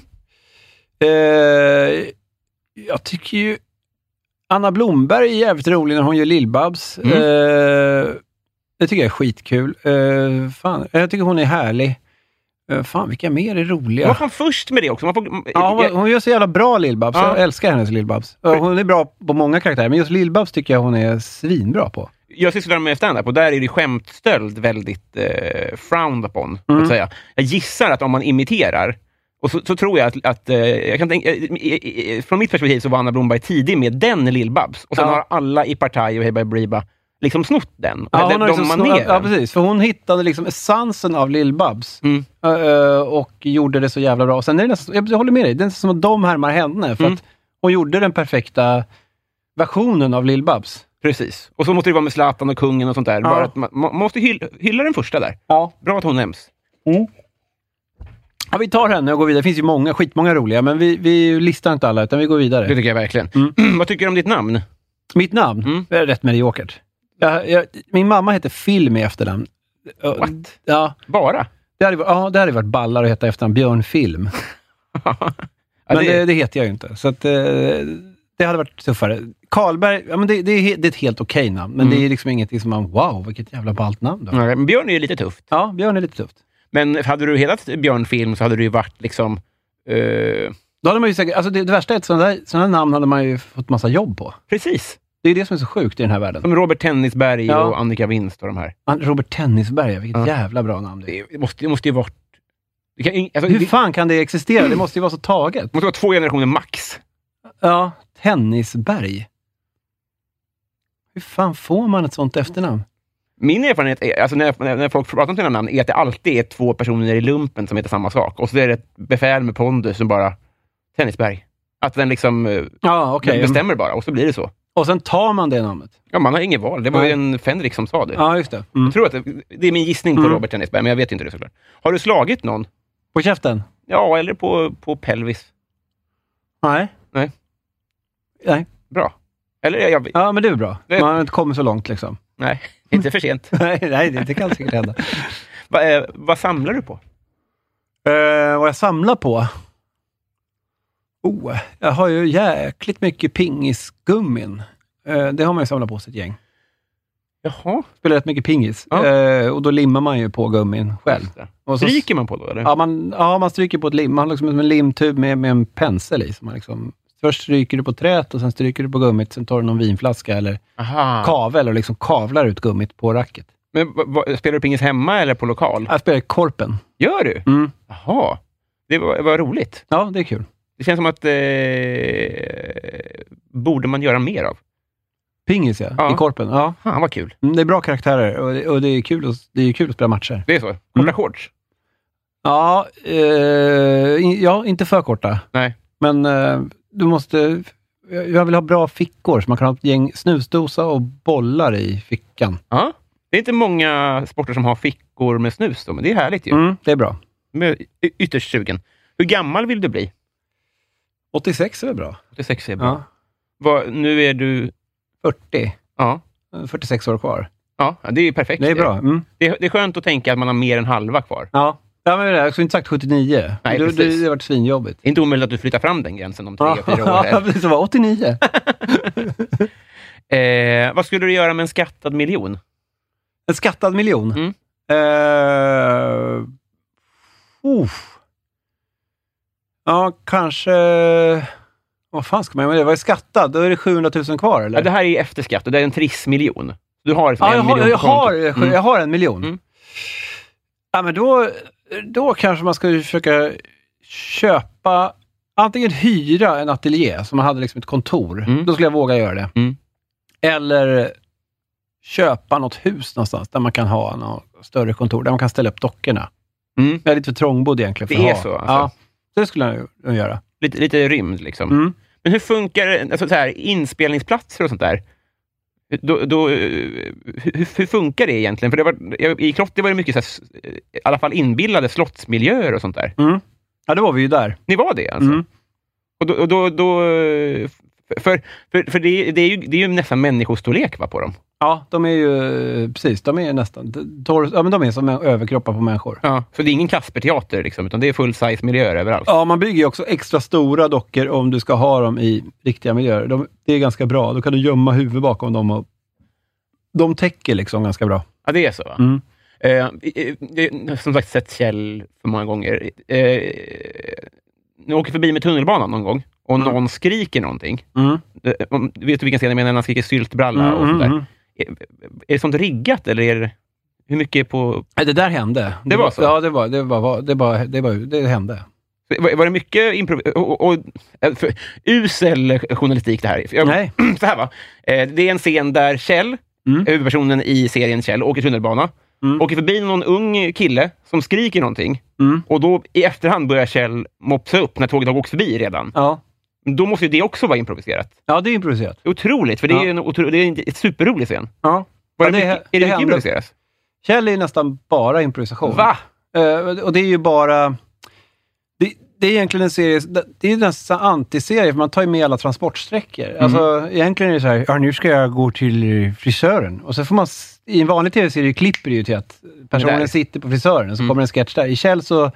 [SPEAKER 3] Eh, jag tycker ju Anna Blomberg är jävligt rolig när hon gör Lill-Babs.
[SPEAKER 2] Mm.
[SPEAKER 3] Eh, det tycker jag är skitkul. Eh, fan, jag tycker hon är härlig. Eh, fan, vilka mer är
[SPEAKER 2] Hon var
[SPEAKER 3] roliga?
[SPEAKER 2] fan först med det också. Man får,
[SPEAKER 3] Ja, hon, var- hon gör så jävla bra Lill-Babs.
[SPEAKER 2] Ja.
[SPEAKER 3] Jag älskar hennes Lill-Babs. Eh, Hon är bra på många karaktärer, men just Lill-Babs tycker jag hon är svinbra på.
[SPEAKER 2] jag sysslar med stand-up och där är det skämtstöld väldigt eh, frowned upon.
[SPEAKER 3] Mm.
[SPEAKER 2] Att säga. Jag gissar att om man imiterar, och så, så tror jag att... att eh, jag kan tänka, eh, eh, eh, från mitt perspektiv så var Anna Blomberg tidig med den Lill-Babs. Och sen
[SPEAKER 3] Ja.
[SPEAKER 2] har alla i Partaj och Hey Bye Briba liksom snott den.
[SPEAKER 3] Ja,
[SPEAKER 2] Eller
[SPEAKER 3] hon har
[SPEAKER 2] de
[SPEAKER 3] liksom
[SPEAKER 2] maneren.
[SPEAKER 3] snor- ja, precis. För hon hittade liksom essensen av Lill-Babs
[SPEAKER 2] Mm.
[SPEAKER 3] Ö, ö, och gjorde det så jävla bra. Och sen är det nästan, jag håller med dig, det är nästan som att de härmar henne, för
[SPEAKER 2] Mm.
[SPEAKER 3] att hon gjorde den perfekta versionen av Lill-Babs.
[SPEAKER 2] Precis. Och så måste det vara med Zlatan och kungen och sånt där. Bara att man, man måste hylla, hylla den första där.
[SPEAKER 3] Ja.
[SPEAKER 2] Bra att hon nämns. Mm.
[SPEAKER 3] vi tar henne och går vidare. Det finns ju många, skitmånga roliga, men vi, vi listar inte alla, utan vi går vidare.
[SPEAKER 2] Det tycker jag verkligen.
[SPEAKER 3] Mm.
[SPEAKER 2] Vad tycker du om ditt namn?
[SPEAKER 3] Mitt namn
[SPEAKER 2] Mm.
[SPEAKER 3] är rätt mediokert. Jag, jag, min mamma heter Film i efternamn. Ö,
[SPEAKER 2] What?
[SPEAKER 3] Ja,
[SPEAKER 2] Bara?
[SPEAKER 3] det hade, varit- ja, det hade varit ballar att heta efternamn Björn Film.
[SPEAKER 2] Ja,
[SPEAKER 3] men
[SPEAKER 2] det-
[SPEAKER 3] det, det heter jag ju inte. Så att, eh, det hade varit tuffare. Karlberg, ja, men det, det, är, he- det är ett helt okej namn, men
[SPEAKER 2] Mm.
[SPEAKER 3] det är liksom ingenting som man, wow, vilket jävla ballt namn. Då.
[SPEAKER 2] Nej, men Björn är ju lite tufft.
[SPEAKER 3] Ja, Björn är lite tufft.
[SPEAKER 2] Men hade du hetat Björn Film så hade du ju varit liksom... eh,
[SPEAKER 3] Då hade man ju säkert, alltså det, det värsta är att sådana, där, sådana namn hade man ju fått massa jobb på.
[SPEAKER 2] precis.
[SPEAKER 3] Det är det som är så sjukt i den här världen.
[SPEAKER 2] Som Robert Tennisberg
[SPEAKER 3] Ja.
[SPEAKER 2] och Annika Winst och de här.
[SPEAKER 3] Han- Robert Tennisberg, vilket
[SPEAKER 2] Ja.
[SPEAKER 3] jävla bra namn det är.
[SPEAKER 2] Det måste, det måste ju varit... Det, kan, alltså, det
[SPEAKER 3] Hur fan kan det existera? Det måste ju vara så taget.
[SPEAKER 2] måste vara två generationer max.
[SPEAKER 3] Mm. Ja, Tennisberg. Hur fan får man ett sånt efternamn?
[SPEAKER 2] Min erfarenhet, är, alltså när, när när folk pratar om sina namn, är att det alltid är två personer i lumpen som heter samma sak. Och så är det ett befäl med pondus som bara... Tennisberg. Att den liksom eh,
[SPEAKER 3] Ja, okej.
[SPEAKER 2] bestämmer bara, och så blir det så.
[SPEAKER 3] Och sen tar man det namnet.
[SPEAKER 2] Ja, man har inget val. Det var ju
[SPEAKER 3] Nej.
[SPEAKER 2] en Fenrik som sa det.
[SPEAKER 3] Ja, just det. Mm.
[SPEAKER 2] Jag tror att det, det är min gissning på
[SPEAKER 3] Mm.
[SPEAKER 2] Robert Tennisberg, men jag vet inte det såklart. Har du slagit någon?
[SPEAKER 3] På käften?
[SPEAKER 2] Ja, eller på, på pelvis.
[SPEAKER 3] Nej.
[SPEAKER 2] Nej.
[SPEAKER 3] Nej.
[SPEAKER 2] Bra. Eller jag, jag,
[SPEAKER 3] Ja, men det är väl bra.
[SPEAKER 2] Det-
[SPEAKER 3] Man har inte kommit så långt liksom.
[SPEAKER 2] nej, inte för sent.
[SPEAKER 3] nej, nej, det det kan säkert hända.
[SPEAKER 2] Va, eh, vad samlar du på?
[SPEAKER 3] Eh, vad jag samlar på? Oh, jag har ju jäkligt mycket pingisgummin. Eh, det har man ju samlat på sig ett gäng.
[SPEAKER 2] Jaha,
[SPEAKER 3] Spelar rätt mycket pingis.
[SPEAKER 2] Ja.
[SPEAKER 3] Eh, och då limmar man ju på gummin själv.
[SPEAKER 2] just det.
[SPEAKER 3] Och så-
[SPEAKER 2] Stryker man på då, eller?
[SPEAKER 3] Ja man, ja, man stryker på ett lim. Man har liksom som en limtub med, med en pensel i. Som man liksom, först stryker du på träet och sen stryker du på gummit. Sen tar du någon vinflaska eller
[SPEAKER 2] Aha.
[SPEAKER 3] kavel och liksom kavlar ut gummit på racket.
[SPEAKER 2] Men, va, va, spelar du pingis hemma eller på lokal?
[SPEAKER 3] Jag spelar i Korpen.
[SPEAKER 2] Gör du?
[SPEAKER 3] Mm.
[SPEAKER 2] Jaha. Det var, var roligt.
[SPEAKER 3] Ja, det är kul.
[SPEAKER 2] Det känns som att eh, borde man göra mer av.
[SPEAKER 3] Pingis ja,
[SPEAKER 2] Ja.
[SPEAKER 3] i Korpen. Ja.
[SPEAKER 2] Fan, vad kul.
[SPEAKER 3] Mm, det är bra karaktärer och det, och det, är, kul att, det är kul att spela matcher.
[SPEAKER 2] Det är så? Korta
[SPEAKER 3] Mm.
[SPEAKER 2] shorts?
[SPEAKER 3] Ja, eh, in, ja, inte för korta.
[SPEAKER 2] Nej.
[SPEAKER 3] Men eh, du måste... Jag jag vill ha bra fickor, så man kan ha ett gäng snusdosa och bollar i fickan.
[SPEAKER 2] Ja. Det är inte många sporter som har fickor med snus, då, men det är härligt ju.
[SPEAKER 3] Mm, det är bra.
[SPEAKER 2] Men jag är ytterst sugen. Hur gammal vill du bli?
[SPEAKER 3] 86 är väl bra?
[SPEAKER 2] 86 är bra.
[SPEAKER 3] Ja.
[SPEAKER 2] Vad- nu är du...
[SPEAKER 3] 40.
[SPEAKER 2] Ja,
[SPEAKER 3] eh, 46 år kvar.
[SPEAKER 2] ja det är ju perfekt.
[SPEAKER 3] Det är bra. Mm.
[SPEAKER 2] Det, det är skönt att tänka att man har mer än halva kvar.
[SPEAKER 3] Ja. ja, men det är jag skulle inte sagt 79.
[SPEAKER 2] Nej,
[SPEAKER 3] det, det,
[SPEAKER 2] precis.
[SPEAKER 3] det har varit svinjobbigt.
[SPEAKER 2] Det är inte omöjligt att du flyttar fram den gränsen om tre,
[SPEAKER 3] Ja,
[SPEAKER 2] fyra år.
[SPEAKER 3] ja, precis. Det var 89.
[SPEAKER 2] Eh, vad skulle du göra med en skattad miljon?
[SPEAKER 3] En skattad miljon?
[SPEAKER 2] Mm.
[SPEAKER 3] Eh, uff. Ja, kanske... Vad fan ska man göra med det? Vad är skattad? Då är det 700 000 kvar, eller?
[SPEAKER 2] Ja, det här är efterskatt och det är en trissmiljon. Du har liksom
[SPEAKER 3] Ja,
[SPEAKER 2] en
[SPEAKER 3] jag, har,
[SPEAKER 2] miljon
[SPEAKER 3] jag,
[SPEAKER 2] på kontot.
[SPEAKER 3] har, jag har en miljon.
[SPEAKER 2] Mm.
[SPEAKER 3] Ja, men då, då kanske man ska ju försöka köpa, antingen hyra en ateljé, som man hade liksom ett kontor.
[SPEAKER 2] Mm.
[SPEAKER 3] Då skulle jag våga göra det.
[SPEAKER 2] Mm.
[SPEAKER 3] Eller köpa något hus någonstans, där man kan ha något större kontor, där man kan ställa upp dockorna.
[SPEAKER 2] Mm.
[SPEAKER 3] Jag är lite för trångbodd egentligen för
[SPEAKER 2] Det
[SPEAKER 3] att
[SPEAKER 2] är så,
[SPEAKER 3] ha.
[SPEAKER 2] alltså.
[SPEAKER 3] Ja, det skulle jag nog göra.
[SPEAKER 2] Lite, lite rymd liksom.
[SPEAKER 3] Mm.
[SPEAKER 2] Men hur funkar alltså, så här, inspelningsplatser och sånt där? då, då, eh, hur, hur funkar det egentligen? För det var, jag- I Klotter var det mycket, så här, s- eh, i alla fall inbillade slottsmiljöer och sånt där.
[SPEAKER 3] Ja, då var vi ju där.
[SPEAKER 2] Ni var det alltså?
[SPEAKER 3] Mm.
[SPEAKER 2] Och då, och då, då, eh, för för, för det, är- det, är ju, det är ju nästan människostorlek va, på dem.
[SPEAKER 3] Ja, de är ju... Precis, de är nästan... Tor, ja, men de är som en- överkroppar på människor.
[SPEAKER 2] Ja. Så det är ingen Kasperteater, liksom, utan det är full-size-miljöer överallt.
[SPEAKER 3] Ja, man bygger ju också extra stora dockor om du ska ha dem i riktiga miljöer. De, det är ganska bra. Då kan du gömma huvudet bakom dem. Och, de täcker liksom ganska bra.
[SPEAKER 2] Ja, det är så. Va?
[SPEAKER 3] Mm.
[SPEAKER 2] Eh, eh, eh, som sagt, sett Kjell för många gånger. Eh, jag åker förbi med tunnelbanan någon gång och
[SPEAKER 3] Mm.
[SPEAKER 2] någon skriker någonting.
[SPEAKER 3] Mm.
[SPEAKER 2] Eh, om- Vet du vilken scen jag menar? När han skriker syltbralla och sånt där.
[SPEAKER 3] mm.
[SPEAKER 2] Eh, Är det sånt riggat eller är det, hur mycket på...
[SPEAKER 3] Nej, Det där hände.
[SPEAKER 2] Det var så?
[SPEAKER 3] Ja, det, var, det, var, det, var, det, var, det hände.
[SPEAKER 2] Var, var det mycket improv... Och, och, eh, för, usel journalistik det här. För Jag,
[SPEAKER 3] Nej.
[SPEAKER 2] Så här va. Eh, det är en scen där Kjell,
[SPEAKER 3] Mm.
[SPEAKER 2] huvudpersonen i serien Kjell, åker tunnelbana.
[SPEAKER 3] Mm.
[SPEAKER 2] Åker förbi någon ung kille som skriker någonting.
[SPEAKER 3] Mm.
[SPEAKER 2] Och då i efterhand börjar Kjell mopsa upp när tåget har åkt förbi redan.
[SPEAKER 3] Ja.
[SPEAKER 2] Då måste ju det också vara improviserat.
[SPEAKER 3] ja, det är improviserat.
[SPEAKER 2] Otroligt, för det är
[SPEAKER 3] Ja.
[SPEAKER 2] ju en, otro, det är en ett superrolig scen.
[SPEAKER 3] Ja.
[SPEAKER 2] Var
[SPEAKER 3] Ja,
[SPEAKER 2] det,
[SPEAKER 3] det-
[SPEAKER 2] mycket,
[SPEAKER 3] det
[SPEAKER 2] är det mycket
[SPEAKER 3] händer.
[SPEAKER 2] improviserat?
[SPEAKER 3] Kjell är ju nästan bara improvisation.
[SPEAKER 2] Va?
[SPEAKER 3] Eh, och det är ju bara... Det, det är egentligen en serie, det är ju nästan antiserie, för man tar ju med alla transportsträckor.
[SPEAKER 2] Mm.
[SPEAKER 3] Alltså, egentligen är det så här, ja, nu ska jag gå till frisören. Och så får man, s- i en vanlig tv-serie klipper det ju till att personen
[SPEAKER 2] Där.
[SPEAKER 3] sitter på frisören och så
[SPEAKER 2] Mm.
[SPEAKER 3] kommer en sketch där. I Kjell så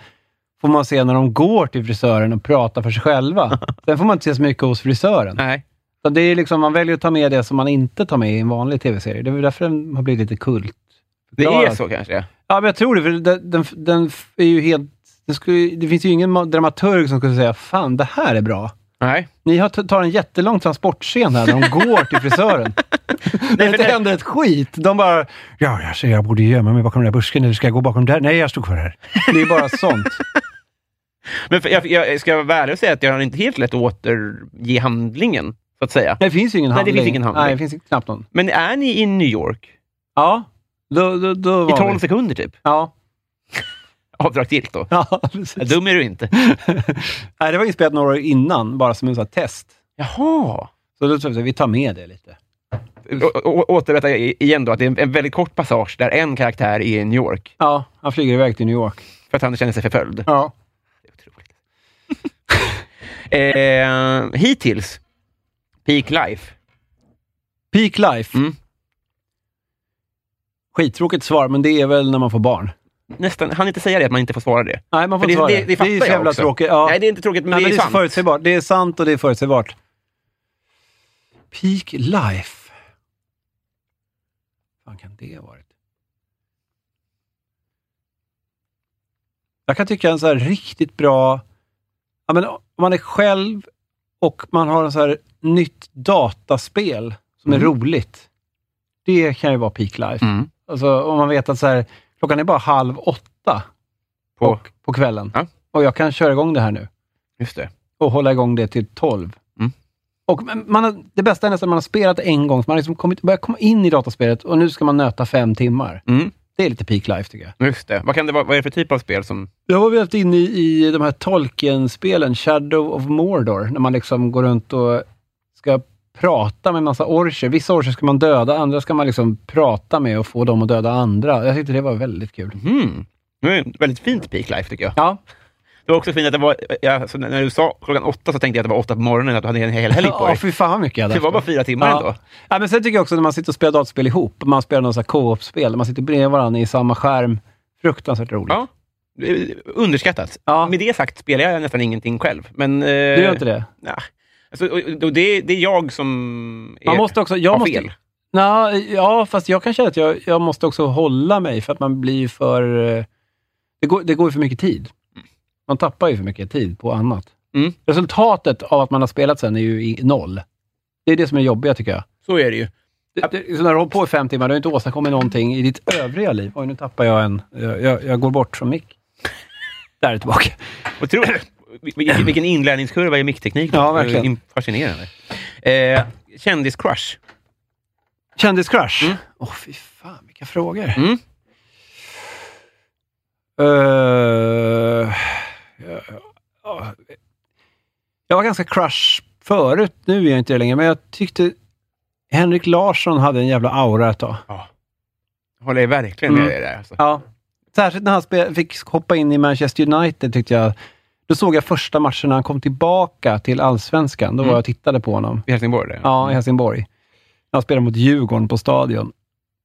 [SPEAKER 3] får man se när de går till frisören och pratar för sig själva. Sen får man inte se så mycket hos frisören.
[SPEAKER 2] Nej.
[SPEAKER 3] Så det är liksom, man väljer att ta med det som man inte tar med i en vanlig tv-serie. Det är väl därför den har blivit lite kult.
[SPEAKER 2] Det är
[SPEAKER 3] Förklarat.
[SPEAKER 2] så kanske?
[SPEAKER 3] Ja, men jag tror det, för den, den, den f- är ju helt... Den skulle, det finns ju ingen ma- dramaturg som skulle säga fan, det här är bra.
[SPEAKER 2] Nej.
[SPEAKER 3] Ni har t- tar en jättelång transportscen här när de går till frisören. Nej,
[SPEAKER 2] för
[SPEAKER 3] det
[SPEAKER 2] det-
[SPEAKER 3] händer ett skit. De bara, ja, alltså, jag borde gömma mig bakom den där busken, eller ska jag gå bakom där? Nej, jag stod kvar här. Det är bara sånt.
[SPEAKER 2] Men för, jag, jag ska vara ärlig och säga att jag har inte helt lätt att återge handlingen, så att säga.
[SPEAKER 3] Det finns ju ingen
[SPEAKER 2] Nej, det
[SPEAKER 3] handling.
[SPEAKER 2] finns ingen handling.
[SPEAKER 3] Nej, det finns knappt någon.
[SPEAKER 2] Men är ni i New York?
[SPEAKER 3] Ja, då, då, då var
[SPEAKER 2] I 12
[SPEAKER 3] vi.
[SPEAKER 2] sekunder typ?
[SPEAKER 3] Ja.
[SPEAKER 2] Avdragsgillt då?
[SPEAKER 3] ja
[SPEAKER 2] Ja,
[SPEAKER 3] precis.
[SPEAKER 2] Dum är du inte.
[SPEAKER 3] Nej, det var inspelat några år innan, bara som en sån här test.
[SPEAKER 2] Jaha.
[SPEAKER 3] Så då tror jag att vi tar med det lite.
[SPEAKER 2] Å- å- Återberätta i- igen då, att det är en- en väldigt kort passage där en karaktär är i New York,
[SPEAKER 3] Ja, han flyger iväg till New York.
[SPEAKER 2] för att han känner sig förföljd.
[SPEAKER 3] Ja.
[SPEAKER 2] Otroligt. eh, hittills, Peak Life.
[SPEAKER 3] Peak life.
[SPEAKER 2] Mm.
[SPEAKER 3] Skittråkigt svar, men det är väl när man får barn.
[SPEAKER 2] Nästan, han inte säga det, att man inte får svara det.
[SPEAKER 3] Nej,
[SPEAKER 2] Men
[SPEAKER 3] man får
[SPEAKER 2] det-
[SPEAKER 3] inte svara
[SPEAKER 2] det- det fattar
[SPEAKER 3] är så
[SPEAKER 2] jag
[SPEAKER 3] jävla
[SPEAKER 2] också.
[SPEAKER 3] tråkigt. Ja.
[SPEAKER 2] Nej, det är inte tråkigt, men
[SPEAKER 3] Nej,
[SPEAKER 2] det är
[SPEAKER 3] så
[SPEAKER 2] sant.
[SPEAKER 3] förutsägbart. Det är sant och det är förutsägbart. Peak life. Vad kan det ha varit? Jag kan tycka en så här riktigt bra... Ja, men om man är själv och man har en så här nytt dataspel som är
[SPEAKER 2] Mm.
[SPEAKER 3] roligt. Det kan ju vara peak life.
[SPEAKER 2] Mm.
[SPEAKER 3] Alltså om man vet att så här, klockan är bara halv åtta
[SPEAKER 2] På-
[SPEAKER 3] på, på kvällen.
[SPEAKER 2] Ja.
[SPEAKER 3] Och jag kan köra igång det här nu
[SPEAKER 2] Just det.
[SPEAKER 3] och hålla igång det till tolv.
[SPEAKER 2] Mm.
[SPEAKER 3] Och men man har, det bästa är nästan att man har spelat en gång, så man har liksom kommit, börjat komma in i dataspelet och nu ska man nöta fem timmar.
[SPEAKER 2] Mm.
[SPEAKER 3] Det är lite peak life tycker jag.
[SPEAKER 2] Just det. Vad, kan det vara, vad är det för typ av spel som...
[SPEAKER 3] Då har vi haft inne i, i de här Tolkien-spelen, Shadow of Mordor, när man liksom går runt och ska prata med en massa orcher. Vissa orcher ska man döda, andra ska man liksom prata med och få dem att döda andra. Jag tyckte det var väldigt kul.
[SPEAKER 2] Mm. Det är ett väldigt fint Peak Life, tycker jag.
[SPEAKER 3] Ja,
[SPEAKER 2] Det var också fint att det var... Ja, så när när du sa klockan åtta så tänkte jag att det var åtta på morgonen, att du hade en hel helg på
[SPEAKER 3] Ja,
[SPEAKER 2] dig.
[SPEAKER 3] fy fan vad mycket jag hade
[SPEAKER 2] Det var
[SPEAKER 3] haft.
[SPEAKER 2] bara fyra timmar
[SPEAKER 3] Ja.
[SPEAKER 2] ändå.
[SPEAKER 3] Ja, men sen tycker jag också när man sitter och spelar dataspel ihop, man spelar någon sån här co-op-spel, där man sitter bredvid varandra i samma skärm. Fruktansvärt roligt.
[SPEAKER 2] Ja. Det är Underskattat.
[SPEAKER 3] Ja.
[SPEAKER 2] Med det sagt spelar jag nästan ingenting själv. Men, eh,
[SPEAKER 3] Du gör inte det?
[SPEAKER 2] Nah. Alltså, och, och det, det är jag som är,
[SPEAKER 3] Man måste också... Jag
[SPEAKER 2] har
[SPEAKER 3] måste,
[SPEAKER 2] fel.
[SPEAKER 3] Nå, ja, fast jag kan känna att jag, jag måste också hålla mig, för att man blir ju för... eh, Det går, det går ju för mycket tid. Man tappar ju för mycket tid på annat.
[SPEAKER 2] Mm.
[SPEAKER 3] Resultatet av att man har spelat sen är ju i noll. Det är det som är jobbiga tycker jag.
[SPEAKER 2] Så är det ju.
[SPEAKER 3] Det, det, så när du har hållit på i fem timmar, du har ju inte åstadkommit någonting i ditt övriga liv. Oj, nu tappar jag en. Jag, jag, jag går bort från mick. Där är jag tillbaka.
[SPEAKER 2] Och tro, vilken, vilken inlärningskurva i mickteknik.
[SPEAKER 3] Ja, verkligen.
[SPEAKER 2] Det är Fascinerande. Eh, Kändiscrush.
[SPEAKER 3] Kändiscrush? Åh, fy fan, vilka frågor.
[SPEAKER 2] Mm.
[SPEAKER 3] Eh, ja, ja. jag var ganska crush förut, nu är jag inte det längre, men jag tyckte Henrik Larsson hade en jävla aura ett tag.
[SPEAKER 2] Håller jag verkligen med
[SPEAKER 3] Mm.
[SPEAKER 2] dig där. Alltså.
[SPEAKER 3] Ja. Särskilt när han spe- fick hoppa in i Manchester United tyckte jag. Då såg jag första matchen när han kom tillbaka till allsvenskan. Då var
[SPEAKER 2] Mm.
[SPEAKER 3] jag och tittade på honom.
[SPEAKER 2] I Helsingborg? Där.
[SPEAKER 3] Ja, i Helsingborg. När han spelade mot Djurgården på Stadion.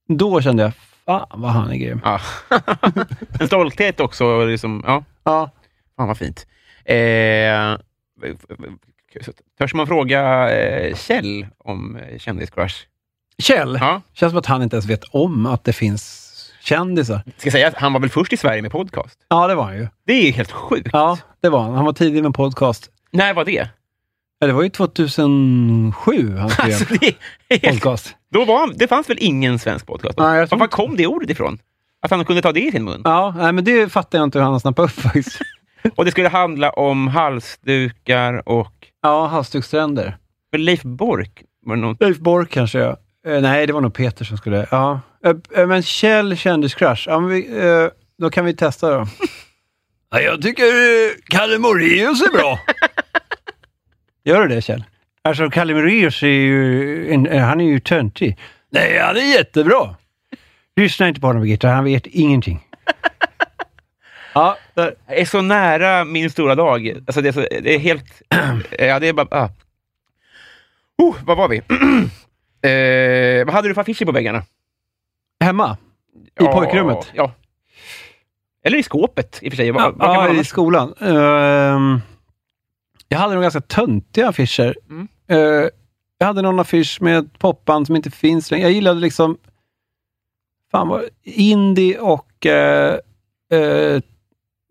[SPEAKER 3] Då kände jag, fan vad han är grym.
[SPEAKER 2] Ja. en stolthet också. och Liksom, ja,
[SPEAKER 3] Ja.
[SPEAKER 2] fan vad fint. Eh, törs man fråga eh, Kjell om eh, kändiscrush?
[SPEAKER 3] Kjell.
[SPEAKER 2] Ja.
[SPEAKER 3] Känns som att han inte ens vet om att det finns kändisar.
[SPEAKER 2] Ska säga att han var väl först i Sverige med podcast?
[SPEAKER 3] Ja, det var han ju.
[SPEAKER 2] Det är ju helt sjukt.
[SPEAKER 3] Ja, det var han. Han var tidig med podcast.
[SPEAKER 2] När var det?
[SPEAKER 3] Ja, det var ju 2007 han skrev
[SPEAKER 2] Alltså, det är helt
[SPEAKER 3] podcast.
[SPEAKER 2] Då var, han- det fanns väl ingen svensk podcast? då?
[SPEAKER 3] Nej, jag tror
[SPEAKER 2] var kom det ordet ifrån? Att han kunde ta det i sin mun?
[SPEAKER 3] Ja, nej, men det fattar jag inte hur han snappade upp faktiskt.
[SPEAKER 2] Och det skulle handla om halsdukar och...
[SPEAKER 3] Ja, halsdukstränder.
[SPEAKER 2] men Leif Bork var det någon...
[SPEAKER 3] Leif Bork kanske, ja. Eh, nej, det var nog Peter som skulle... Ja. Eh, eh, men Kjell kändiscrush. Ja, men vi, eh, då kan vi testa då. ja, jag tycker eh, Kalle Moraeus är bra. Gör du det, Kjell? Alltså, Kalle Moraeus är ju... En, eh, han är ju töntig. Nej, han är jättebra. Lyssna inte på honom, Birgitta. Han vet ingenting. ja, där.
[SPEAKER 2] Jag är så nära min stora dag. Alltså det, är så, det är helt... ja, det är bara... Ah. Oh, vad var vi? eh, vad hade du för affischer på väggarna? I
[SPEAKER 3] hemma. I pojkrummet.
[SPEAKER 2] Ja. Eller i skåpet i och för sig. Vad,
[SPEAKER 3] Ja,
[SPEAKER 2] vad kan man
[SPEAKER 3] ja i
[SPEAKER 2] annars-
[SPEAKER 3] skolan. Ehm, jag hade nog ganska töntiga affischer.
[SPEAKER 2] Mm.
[SPEAKER 3] Eh, jag hade någon affisch med ett popband som inte finns längre. Jag gillade liksom fan vad, indie och eh, eh,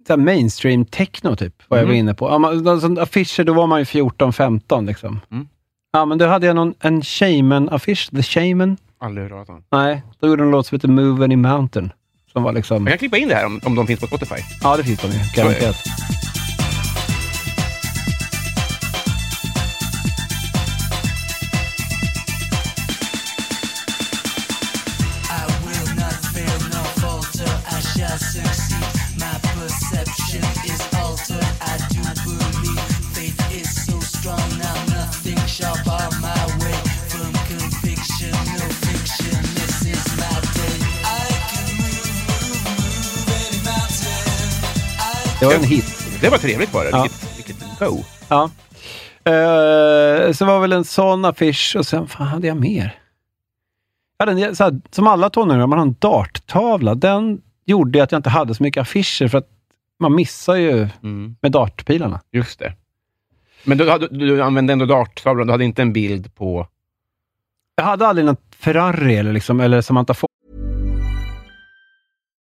[SPEAKER 3] så här mainstream techno, typ, vad jag var
[SPEAKER 2] Mm.
[SPEAKER 3] inne på. Ja, man, alltså, affischer, då var man ju 14-15. Liksom.
[SPEAKER 2] Mm.
[SPEAKER 3] Ja, men då hade jag någon, en Shaman-affisch, The Shaman.
[SPEAKER 2] Aldrig hört talas om.
[SPEAKER 3] Nej, då gjorde de en låt som heter Move Any Mountain. Som var liksom...
[SPEAKER 2] Jag kan klippa in det här om, om de finns på Spotify.
[SPEAKER 3] Ja, det finns de ju. Garanterat. Det var en hit.
[SPEAKER 2] Det var trevligt bara.
[SPEAKER 3] Ja.
[SPEAKER 2] Vilket, vilket go.
[SPEAKER 3] Ja. Eh, så var väl en sån affisch och sen, fan hade jag mer? Jag hade en, så här, som alla tonåringar, man har en darttavla. Den gjorde att jag inte hade så mycket affischer för att man missar ju
[SPEAKER 2] Mm.
[SPEAKER 3] med dartpilarna.
[SPEAKER 2] Just det. Men du, hade- du, du använde ändå darttavlan. Du hade inte en bild på...
[SPEAKER 3] Jag hade aldrig någon Ferrari eller, liksom, eller Samantha Fox.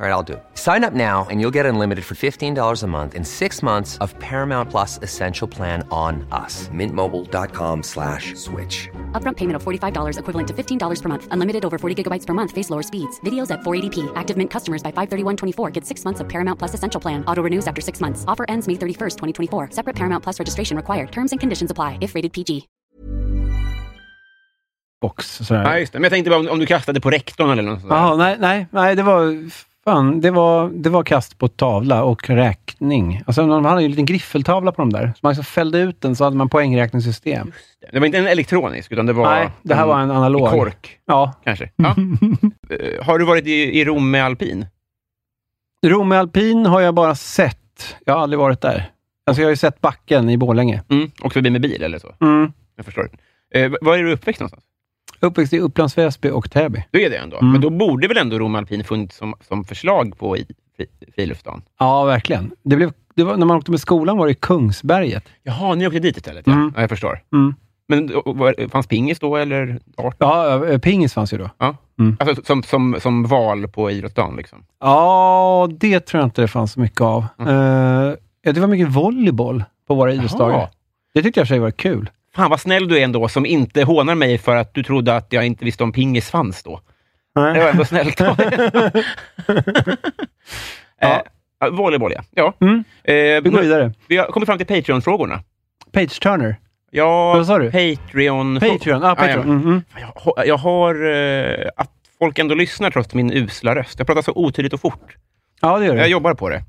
[SPEAKER 5] All right, I'll do it. Sign up now and you'll get unlimited for $15 a month in six months of Paramount Plus Essential Plan on us. Mintmobile.com slash switch.
[SPEAKER 6] Upfront payment of $45 equivalent to $15 per month. Unlimited over 40 gigabytes per month. Face lower speeds. Videos at 480p. Active Mint customers by 531.24 get six months of Paramount Plus Essential Plan. Auto renews after six months. Offer ends May 31st, 2024. Separate Paramount Plus registration required. Terms and conditions apply if rated PG.
[SPEAKER 3] box. Sådär.
[SPEAKER 2] Ja, just det. Men jag tänkte bara om, om du kastade på rektorn eller något sånt. där.
[SPEAKER 3] Jaha, nej, nej, nej, det var... Fan, det var, det var kast på tavla och räkning. Alltså, de hade ju en liten griffeltavla på de där. Så man liksom fällde ut den så hade man poängräkningssystem.
[SPEAKER 2] Det var inte en elektronisk, utan det var... Mm.
[SPEAKER 3] Nej, det här var en analog.
[SPEAKER 2] i kork,
[SPEAKER 3] Ja.
[SPEAKER 2] kanske. Ja.
[SPEAKER 3] Mm.
[SPEAKER 2] Eh, har du varit i, i Rom med alpin?
[SPEAKER 3] Romme alpin har jag bara sett. Jag har aldrig varit där. Alltså jag har ju sett backen i Borlänge.
[SPEAKER 2] Mm. Och förbi med bil eller så?
[SPEAKER 3] Mm.
[SPEAKER 2] Jag förstår. Eh, v- var är du uppväxt någonstans?
[SPEAKER 3] Uppväxt i Upplands Väsby och Täby.
[SPEAKER 2] Du är det ändå.
[SPEAKER 3] Mm.
[SPEAKER 2] Men då borde väl ändå Rom alpin funnits som, som förslag på i, i friluftsdagen?
[SPEAKER 3] Ja, verkligen. Det blev, det var, när man åkte med skolan var det i Kungsberget.
[SPEAKER 2] Jaha, ni åkte dit istället? Ja,
[SPEAKER 3] Mm.
[SPEAKER 2] ja jag förstår.
[SPEAKER 3] Mm.
[SPEAKER 2] Men eh, och, och, var- fanns pingis då, eller dart?
[SPEAKER 3] Ja, eh, pingis fanns ju då.
[SPEAKER 2] Ja.
[SPEAKER 3] Mm.
[SPEAKER 2] Alltså, som, som, som val på idrottsdagen? Liksom.
[SPEAKER 3] Ja, det tror jag inte det fanns så mycket av.
[SPEAKER 2] Mm.
[SPEAKER 3] Eh, ja, det var mycket volleyboll på våra idrottsdagar.
[SPEAKER 2] Jaha.
[SPEAKER 3] Det tyckte jag i och för sig var kul.
[SPEAKER 2] Fan vad snäll du är ändå, som inte hånar mig för att du trodde att jag inte visste om pingis fanns då. Det var ändå snällt av dig. Eh, ja, Volleyboll, ja. ja.
[SPEAKER 3] Mm.
[SPEAKER 2] Eh,
[SPEAKER 3] Vi går
[SPEAKER 2] nu-
[SPEAKER 3] vidare.
[SPEAKER 2] vi har kommit fram till Patreon-frågorna.
[SPEAKER 3] Page Turner.
[SPEAKER 2] Ja,
[SPEAKER 3] Vad sa du?
[SPEAKER 2] Patreon...
[SPEAKER 3] Patreon. Ah,
[SPEAKER 2] Ja, ja.
[SPEAKER 3] Patreon. Mm, mm.
[SPEAKER 2] Jag, har- jag har... Eh, att folk ändå lyssnar trots min usla röst. Jag pratar så otydligt och fort.
[SPEAKER 3] ja, det gör
[SPEAKER 2] Jag
[SPEAKER 3] du.
[SPEAKER 2] jobbar på det.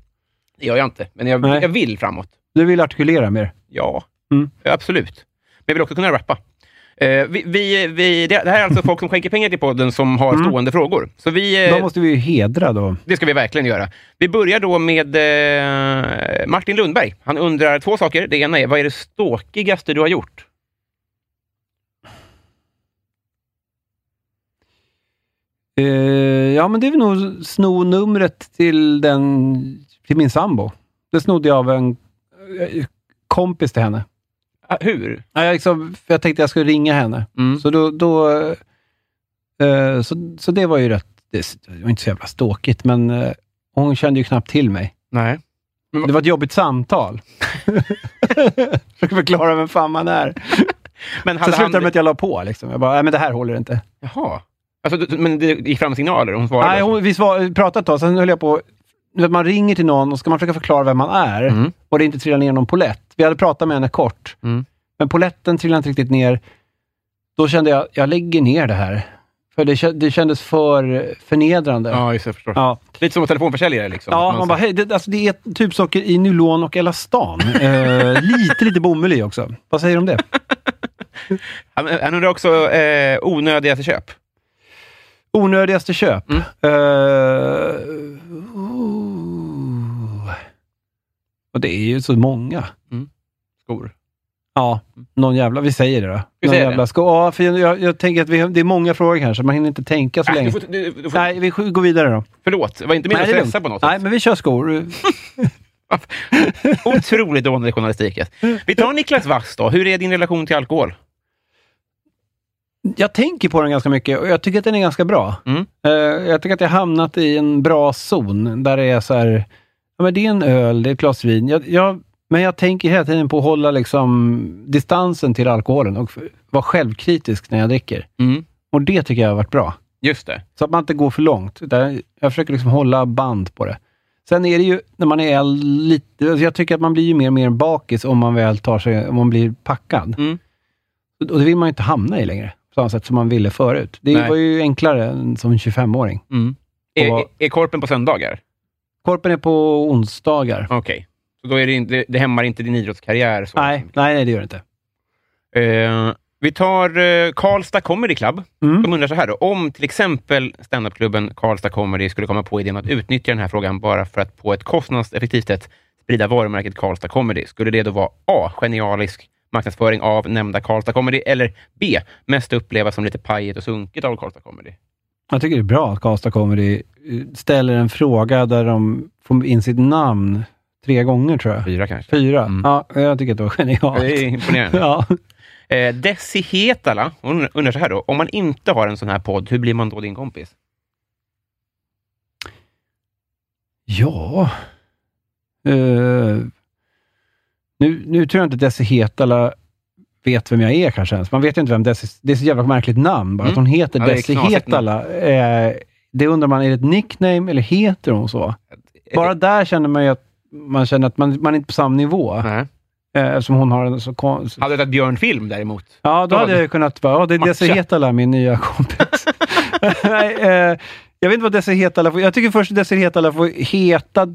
[SPEAKER 2] Det gör jag inte, men jag,
[SPEAKER 3] Nej.
[SPEAKER 2] jag vill framåt.
[SPEAKER 3] Du vill artikulera mer.
[SPEAKER 2] Ja,
[SPEAKER 3] Mm.
[SPEAKER 2] absolut. Men jag vill också kunna rappa. Eh, vi, vi, vi, det det här är alltså folk som skänker pengar till podden som har stående frågor. Så vi, eh,
[SPEAKER 3] Mm. De måste vi ju hedra då.
[SPEAKER 2] Det ska vi verkligen göra. Vi börjar då med eh, Martin Lundberg. Han undrar två saker. Det ena är, vad är det ståkigaste du har gjort?
[SPEAKER 3] Eh, ja, men det är väl nog sno numret till, den, till min sambo. Det snodde jag av en eh, kompis till henne.
[SPEAKER 2] Ah, hur?
[SPEAKER 3] Ja, jag, liksom, för jag tänkte jag skulle ringa henne.
[SPEAKER 2] Mm.
[SPEAKER 3] Så, då, då, eh, så, så det var ju rätt... Det var inte så jävla ståkigt, men eh, hon kände ju knappt till mig.
[SPEAKER 2] Nej.
[SPEAKER 3] Det var ett jobbigt samtal. Försöker förklara vem fan man är.
[SPEAKER 2] Men hade
[SPEAKER 3] Sen
[SPEAKER 2] han...
[SPEAKER 3] slutade det med att jag la på. Liksom. Jag bara, nej men det här håller inte.
[SPEAKER 2] Jaha. Alltså, du- men det gick fram signaler? Hon svarade?
[SPEAKER 3] Nej,
[SPEAKER 2] då?
[SPEAKER 3] hon, vi svar, pratade ett tag, sen höll jag på... du vet, Man ringer till någon och ska man försöka förklara vem man är
[SPEAKER 2] Mm.
[SPEAKER 3] och det inte trillar ner någon polett. Vi hade pratat med henne kort,
[SPEAKER 2] Mm.
[SPEAKER 3] men poletten trillade inte riktigt ner. Då kände jag, jag lägger ner det här. För det, kä- det kändes för förnedrande.
[SPEAKER 2] Ja, just det, jag förstår.
[SPEAKER 3] Ja.
[SPEAKER 2] Lite som en telefonförsäljare liksom.
[SPEAKER 3] Ja,
[SPEAKER 2] Någon
[SPEAKER 3] man bara,
[SPEAKER 2] som-
[SPEAKER 3] hej, det, alltså, det är tubsocker i nylon och elastan. Eh, lite, lite bomull i också. Vad säger du om det?
[SPEAKER 2] han, han undrar också eh, onödigaste köp.
[SPEAKER 3] Onödigaste köp?
[SPEAKER 2] Mm.
[SPEAKER 3] Eh, oh. Och det är ju så många.
[SPEAKER 2] Skor.
[SPEAKER 3] Ja, någon jävla... Vi säger det då.
[SPEAKER 2] Vi
[SPEAKER 3] någon
[SPEAKER 2] säger det.
[SPEAKER 3] jävla sko- ja, för jag, jag, jag tänker att vi, har- det är många frågor här, så man hinner inte tänka så
[SPEAKER 2] Äh,
[SPEAKER 3] länge.
[SPEAKER 2] du får, du, du får,
[SPEAKER 3] Nej, vi sk- går vidare då.
[SPEAKER 2] Förlåt, det var inte
[SPEAKER 3] Nej,
[SPEAKER 2] meningen att
[SPEAKER 3] det är
[SPEAKER 2] stressa
[SPEAKER 3] lugnt.
[SPEAKER 2] på något
[SPEAKER 3] Nej,
[SPEAKER 2] sätt.
[SPEAKER 3] men vi kör skor.
[SPEAKER 2] Otroligt dålig journalistik. alltså. Vi tar Niklas Wass då. Hur är din relation till alkohol?
[SPEAKER 3] Jag tänker på den ganska mycket och jag tycker att den är ganska bra.
[SPEAKER 2] Mm.
[SPEAKER 3] Eh, jag tycker att jag hamnat i en bra zon där det är så här... Ja, men det är en öl, det är ett glas vin. Jag, jag, men jag tänker hela tiden på att hålla liksom, distansen till alkoholen och f- vara självkritisk när jag dricker. Och det tycker jag har varit bra.
[SPEAKER 2] Just det.
[SPEAKER 3] Så att man inte går för långt. Utan jag försöker liksom hålla band på det. Sen är det ju, när man är äldre, lite... alltså Jag tycker att man blir ju mer och mer bakis om man väl tar sig, om man blir packad.
[SPEAKER 2] Mm.
[SPEAKER 3] Och det vill man ju inte hamna i längre, på samma sätt som man ville förut. Det
[SPEAKER 2] Nej.
[SPEAKER 3] var ju enklare än som 25-åring.
[SPEAKER 2] Är,
[SPEAKER 3] Och-
[SPEAKER 2] är korpen på söndagar?
[SPEAKER 3] Korpen är på onsdagar.
[SPEAKER 2] Okej. Så då är det, inte, det- det hämmar inte din idrottskarriär? Så.
[SPEAKER 3] Nej, nej, nej, det gör det inte.
[SPEAKER 2] Eh, vi tar eh, Karlstad Comedy Club.
[SPEAKER 3] Mm.
[SPEAKER 2] De undrar så här då. Om till exempel standupklubben Karlstad Comedy skulle komma på idén att utnyttja den här frågan bara för att på ett kostnadseffektivt sätt sprida varumärket Karlstad Comedy. Skulle det då vara A. Genialisk marknadsföring av nämnda Karlstad Comedy eller B. Mest upplevas som lite pajigt och sunkigt av Karlstad Comedy?
[SPEAKER 3] Jag tycker det är bra att Karlstad Comedy eh, ställer en fråga där de får in sitt namn tre gånger, tror jag.
[SPEAKER 2] Fyra kanske.
[SPEAKER 3] Fyra.
[SPEAKER 2] Mm.
[SPEAKER 3] Ja, jag tycker att det var genialt.
[SPEAKER 2] Det är imponerande.
[SPEAKER 3] Ja.
[SPEAKER 2] Eh, Desi Hetala hon undrar så här då. Om man inte har en sån här podd, hur blir man då din kompis?
[SPEAKER 3] Ja. Eh, nu, nu tror jag inte Desi Hetala vet vem jag är kanske ens. Man vet ju inte vem Desi... Det är så jävla märkligt namn bara. Att
[SPEAKER 2] Mm.
[SPEAKER 3] hon heter
[SPEAKER 2] Ja, det är
[SPEAKER 3] Desi
[SPEAKER 2] knasigt
[SPEAKER 3] Hetala. Eh, det undrar man, är det ett nickname eller heter hon så? Bara
[SPEAKER 2] Eh.
[SPEAKER 3] där känner man ju att man känner att man, man är inte på samma nivå.
[SPEAKER 2] Nej.
[SPEAKER 3] Eh, eftersom hon har en så konstig...
[SPEAKER 2] Hade det varit Björn Film däremot?
[SPEAKER 3] Ja, då
[SPEAKER 2] Då
[SPEAKER 3] hade
[SPEAKER 2] hade-
[SPEAKER 3] jag ju kunnat vara, ja, det är Desi
[SPEAKER 2] Matcha.
[SPEAKER 3] Hetala, min nya kompis. Nej, eh, jag vet inte vad Desi Hetala får... Jag tycker först Desi Hetala får heta...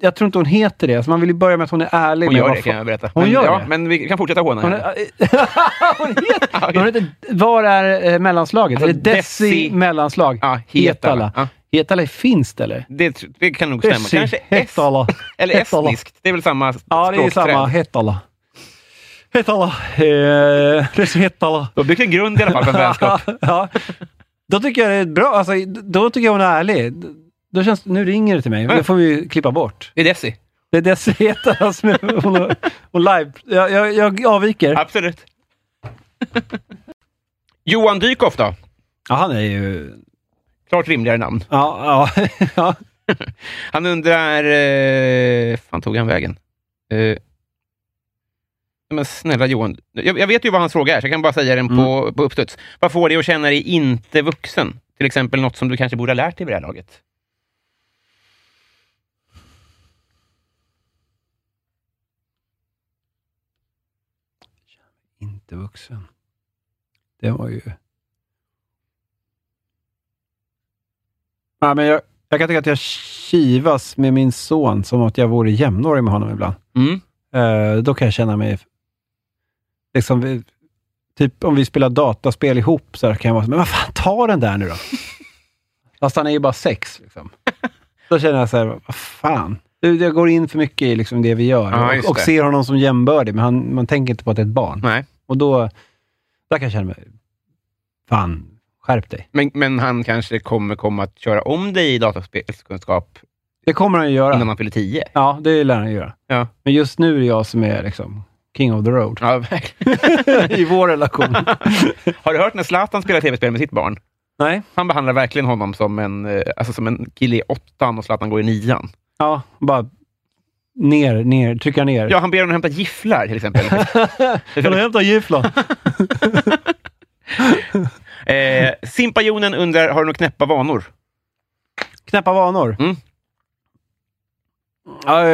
[SPEAKER 3] Jag tror inte hon heter det, så man vill ju börja med att hon är ärlig.
[SPEAKER 2] Hon
[SPEAKER 3] med
[SPEAKER 2] gör
[SPEAKER 3] vad
[SPEAKER 2] det,
[SPEAKER 3] fan-
[SPEAKER 2] kan jag berätta.
[SPEAKER 3] Hon
[SPEAKER 2] men,
[SPEAKER 3] gör
[SPEAKER 2] ja,
[SPEAKER 3] det?
[SPEAKER 2] Men vi kan fortsätta håna
[SPEAKER 3] Hon,
[SPEAKER 2] henne.
[SPEAKER 3] är, hon heter... Hon heter var är eh, mellanslaget?
[SPEAKER 2] Alltså,
[SPEAKER 3] är det Desi,
[SPEAKER 2] Desi-
[SPEAKER 3] mellanslag?
[SPEAKER 2] Ja, Hetala. Ja,
[SPEAKER 3] Hetala är finskt, eller?
[SPEAKER 2] det, tr- det kan nog stämma. Kanske es,
[SPEAKER 3] Hetala.
[SPEAKER 2] eller
[SPEAKER 3] Hetala.
[SPEAKER 2] estniskt. Det är väl samma
[SPEAKER 3] Ja, det är
[SPEAKER 2] språkträd.
[SPEAKER 3] samma. Hetala. Hetala. Eh, Desi Hetala.
[SPEAKER 2] Då byggs en grund i alla fall för en vänskap.
[SPEAKER 3] ja. Då tycker jag det är bra. Alltså, då tycker jag hon är ärlig. Då känns, nu ringer det till mig. Det får vi ju klippa bort.
[SPEAKER 2] Det är Desi.
[SPEAKER 3] Det är Desi Hetala som är- hon, hon live... Jag, jag, jag avviker.
[SPEAKER 2] Absolut. Johan Dykhoff då?
[SPEAKER 3] Ja, han är ju...
[SPEAKER 2] Klart rimligare namn.
[SPEAKER 3] Ja, ja, ja.
[SPEAKER 2] Han undrar... Eh, fan tog han vägen? Eh, nej men snälla Johan, jag, jag vet ju vad hans fråga är, så jag kan bara säga den på,
[SPEAKER 3] Mm.
[SPEAKER 2] på uppstuds. Vad får dig att känna dig inte vuxen? Till exempel något som du kanske borde ha lärt dig vid det här laget.
[SPEAKER 3] Inte vuxen. Det var ju... Nej, men jag, jag kan tycka att jag kivas med min son som att jag vore jämnårig med honom ibland.
[SPEAKER 2] Mm.
[SPEAKER 3] Eh, då kan jag känna mig... Liksom, vi, typ om vi spelar dataspel ihop så här kan jag vara så men vad fan, ta den där nu då. Fast han är ju bara sex. Liksom. Då känner jag så här, vad fan. Du, Jag går in för mycket i liksom det vi gör
[SPEAKER 2] Ja, just
[SPEAKER 3] och, och
[SPEAKER 2] det.
[SPEAKER 3] ser honom som jämbördig, men han, man tänker inte på att det är ett barn.
[SPEAKER 2] Nej.
[SPEAKER 3] Och då, där kan jag känna mig, fan, skärp dig.
[SPEAKER 2] Men, men han kanske kommer komma att köra om dig i dataspelskunskap
[SPEAKER 3] Det kommer han ju göra.
[SPEAKER 2] innan han fyller tio.
[SPEAKER 3] Ja, det lär han ju göra.
[SPEAKER 2] Ja.
[SPEAKER 3] Men just nu är det jag som är liksom king of the road
[SPEAKER 2] Ja, verkligen.
[SPEAKER 3] i vår relation.
[SPEAKER 2] Har du hört när Zlatan spelar tv-spel med sitt barn?
[SPEAKER 3] Nej.
[SPEAKER 2] Han behandlar verkligen honom som en, eh, alltså som en kille i åttan och Zlatan går i nian.
[SPEAKER 3] Ja, bara ner, ner, trycka ner.
[SPEAKER 2] Ja, han ber honom hämta gifflar till exempel.
[SPEAKER 3] Kan du hämta gifflan?
[SPEAKER 2] eh, Simpajonen undrar, har du några knäppa vanor?
[SPEAKER 3] Knäppa vanor.
[SPEAKER 2] Mm.
[SPEAKER 3] Ja, eh,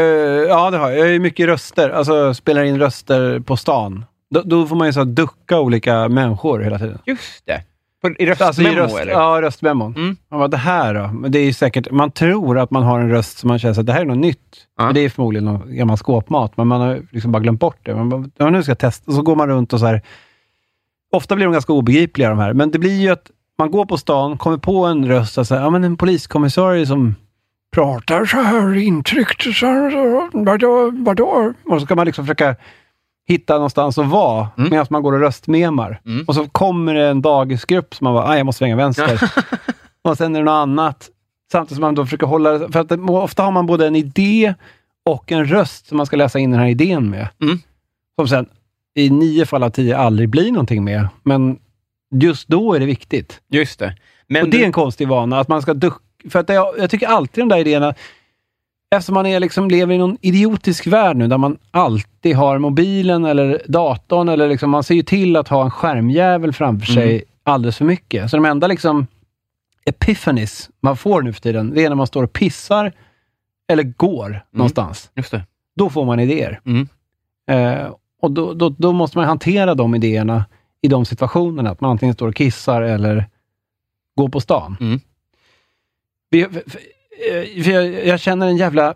[SPEAKER 3] ja, det har jag. Jag har ju mycket röster. Alltså, spelar in röster på stan. Då, då får man ju så här ducka olika människor hela tiden.
[SPEAKER 2] Just det. På, I röstmemo,
[SPEAKER 3] Alltså, i röst,
[SPEAKER 2] eller?
[SPEAKER 3] ja, röstmemon.
[SPEAKER 2] Mm.
[SPEAKER 3] Man bara, det här då? Men det är ju säkert, man tror att man har en röst som man känner att det här är något nytt.
[SPEAKER 2] Ja.
[SPEAKER 3] Men det är förmodligen någon gammal skåpmat, men man har liksom bara glömt bort det. Man bara, ja, nu ska jag testa. Och så går man runt och så här. Ofta blir de ganska obegripliga de här, men det blir ju att man går på stan, kommer på en röst, alltså, ja, men en poliskommissarie som pratar så här intryckt. Så här, så här, vadå, vadå? Och så kan man liksom försöka hitta någonstans att vara medan man går och röstmemar. Och så kommer det en dagisgrupp som man bara, "Aj, jag måste svänga vänster. och sen är det något annat. Samtidigt som man då försöker hålla det- För att det, ofta har man både en idé och en röst som man ska läsa in den här idén med.
[SPEAKER 2] Mm.
[SPEAKER 3] Som sen i nio fall av tio aldrig blir någonting med. Men just då är det viktigt.
[SPEAKER 2] Just det. Men
[SPEAKER 3] Och det är
[SPEAKER 2] du-
[SPEAKER 3] en konstig vana, att man ska ducka. För att jag, jag tycker alltid de där idéerna, eftersom man är liksom, lever i någon idiotisk värld nu, där man alltid har mobilen eller datorn, eller liksom, man ser ju till att ha en skärmjävel framför
[SPEAKER 2] Mm.
[SPEAKER 3] sig alldeles för mycket. Så de enda liksom epiphanies man får nu för tiden, det är när man står och pissar eller går
[SPEAKER 2] Mm.
[SPEAKER 3] någonstans.
[SPEAKER 2] Just det.
[SPEAKER 3] Då får man idéer.
[SPEAKER 2] Mm.
[SPEAKER 3] Eh, och då, då, då måste man hantera de idéerna i de situationerna, att man antingen står och kissar eller går på stan.
[SPEAKER 2] Mm.
[SPEAKER 3] Vi, för, för, eh, för jag, jag känner en jävla...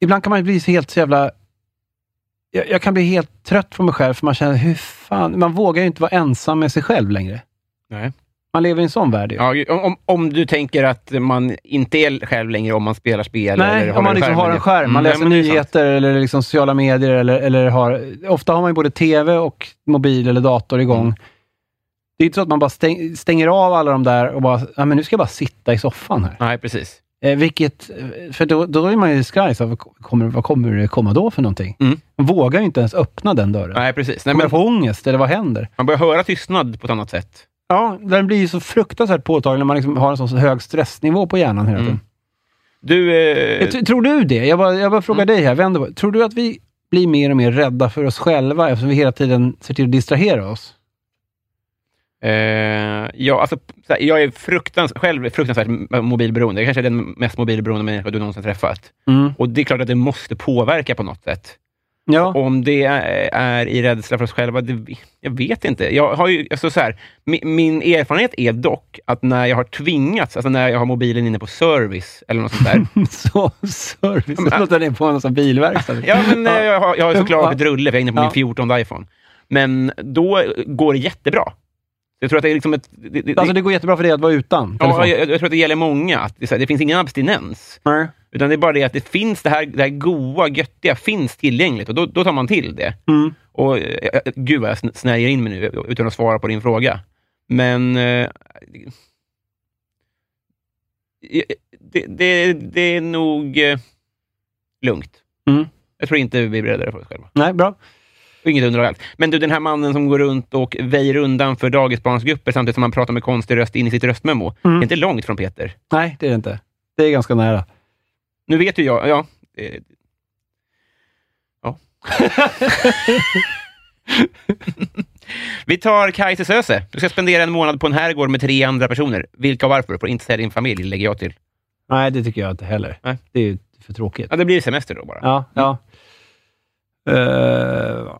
[SPEAKER 3] Ibland kan man ju bli så helt så jävla... Jag, jag kan bli helt trött på mig själv, för man känner, hur fan... Man vågar ju inte vara ensam med sig själv längre.
[SPEAKER 2] Nej.
[SPEAKER 3] Man lever i en sån värld ju.
[SPEAKER 2] Ja, ju- om, om du tänker att man inte är själv längre om man spelar spel.
[SPEAKER 3] Nej,
[SPEAKER 2] eller
[SPEAKER 3] om man liksom har en skärm.
[SPEAKER 2] Mm,
[SPEAKER 3] Man läser nyheter eller liksom sociala medier. Eller, eller har, ofta har man ju både tv och mobil eller dator igång.
[SPEAKER 2] Mm.
[SPEAKER 3] Det är inte så att man bara stäng, stänger av alla de där och bara, ja men nu ska jag bara sitta i soffan här.
[SPEAKER 2] Nej, precis.
[SPEAKER 3] Eh, vilket, eh, för då, då är man ju skraj, så här, vad, kommer, vad kommer det komma då för någonting?
[SPEAKER 2] Mm.
[SPEAKER 3] Man vågar ju inte ens öppna den dörren.
[SPEAKER 2] Nej, precis. Nej,
[SPEAKER 3] Kommer jag
[SPEAKER 2] men
[SPEAKER 3] få ångest eller vad händer?
[SPEAKER 2] man börjar höra tystnad på ett annat sätt.
[SPEAKER 3] Ja, den blir ju så fruktansvärt påtaglig när man liksom har en sån hög stressnivå på hjärnan hela tiden.
[SPEAKER 2] Mm. Du, eh,
[SPEAKER 3] Jag tr- Tror du det? Jag bara, jag bara frågar
[SPEAKER 2] Mm.
[SPEAKER 3] dig här, vänder på Tror du att vi blir mer och mer rädda för oss själva eftersom vi hela tiden ser till att distrahera oss?
[SPEAKER 2] eh, ja, alltså, så här, jag är fruktans själv fruktansvärt m- mobilberoende. Jag kanske är den mest mobilberoende människa du någonsin träffat.
[SPEAKER 3] Mm.
[SPEAKER 2] Och det är klart att det måste påverka på något sätt.
[SPEAKER 3] Ja.
[SPEAKER 2] Om det är är i rädsla för oss själva, det, jag vet inte. Jag har ju, alltså så här, min, min erfarenhet är dock att när jag har tvingats, alltså när jag har mobilen inne på service eller något sånt där.
[SPEAKER 3] så service.
[SPEAKER 2] men-
[SPEAKER 3] Det låter det på en sån bilverkstad.
[SPEAKER 2] ja, men eh, jag har, jag har såklart
[SPEAKER 3] Ja.
[SPEAKER 2] ett drulle, för jag är inne på min
[SPEAKER 3] Ja.
[SPEAKER 2] 14 iPhone. Men då går det jättebra. Jag tror att det är liksom ett... Det, det,
[SPEAKER 3] Alltså det går jättebra för dig att vara utan
[SPEAKER 2] ja,
[SPEAKER 3] telefon.
[SPEAKER 2] jag, jag tror att det gäller många, att det, är så här, det finns ingen abstinens.
[SPEAKER 3] Nej.
[SPEAKER 2] Utan det är bara det att det finns det här, det här goa, göttiga, finns tillgängligt och då, då tar man till det.
[SPEAKER 3] Mm.
[SPEAKER 2] Och, eh, eh, gud vad jag sn- snärjer in mig nu utan att svara på din fråga. Men... Eh, eh, det, det, det är nog eh, lugnt.
[SPEAKER 3] Mm.
[SPEAKER 2] Jag tror inte vi blir räddare för oss själva.
[SPEAKER 3] Nej, bra.
[SPEAKER 2] Inget under allt. Men du, den här mannen som går runt och väjer undan för dagisbarnsgrupper samtidigt som han pratar med konstig röst in i sitt röstmemo.
[SPEAKER 3] Mm.
[SPEAKER 2] Det är inte långt från Peter.
[SPEAKER 3] Nej, det är det inte. Det är ganska nära.
[SPEAKER 2] Nu vet ju jag... Ja. eh, ja. Vi tar Kajse Söze. Du ska spendera en månad på en herrgård med tre andra personer. Vilka och varför? Får inte säga din familj, lägger jag till.
[SPEAKER 3] Nej, det tycker jag inte heller.
[SPEAKER 2] Nej.
[SPEAKER 3] Det är ju för tråkigt.
[SPEAKER 2] Ja, det blir semester då bara.
[SPEAKER 3] Ja, ja. Eh,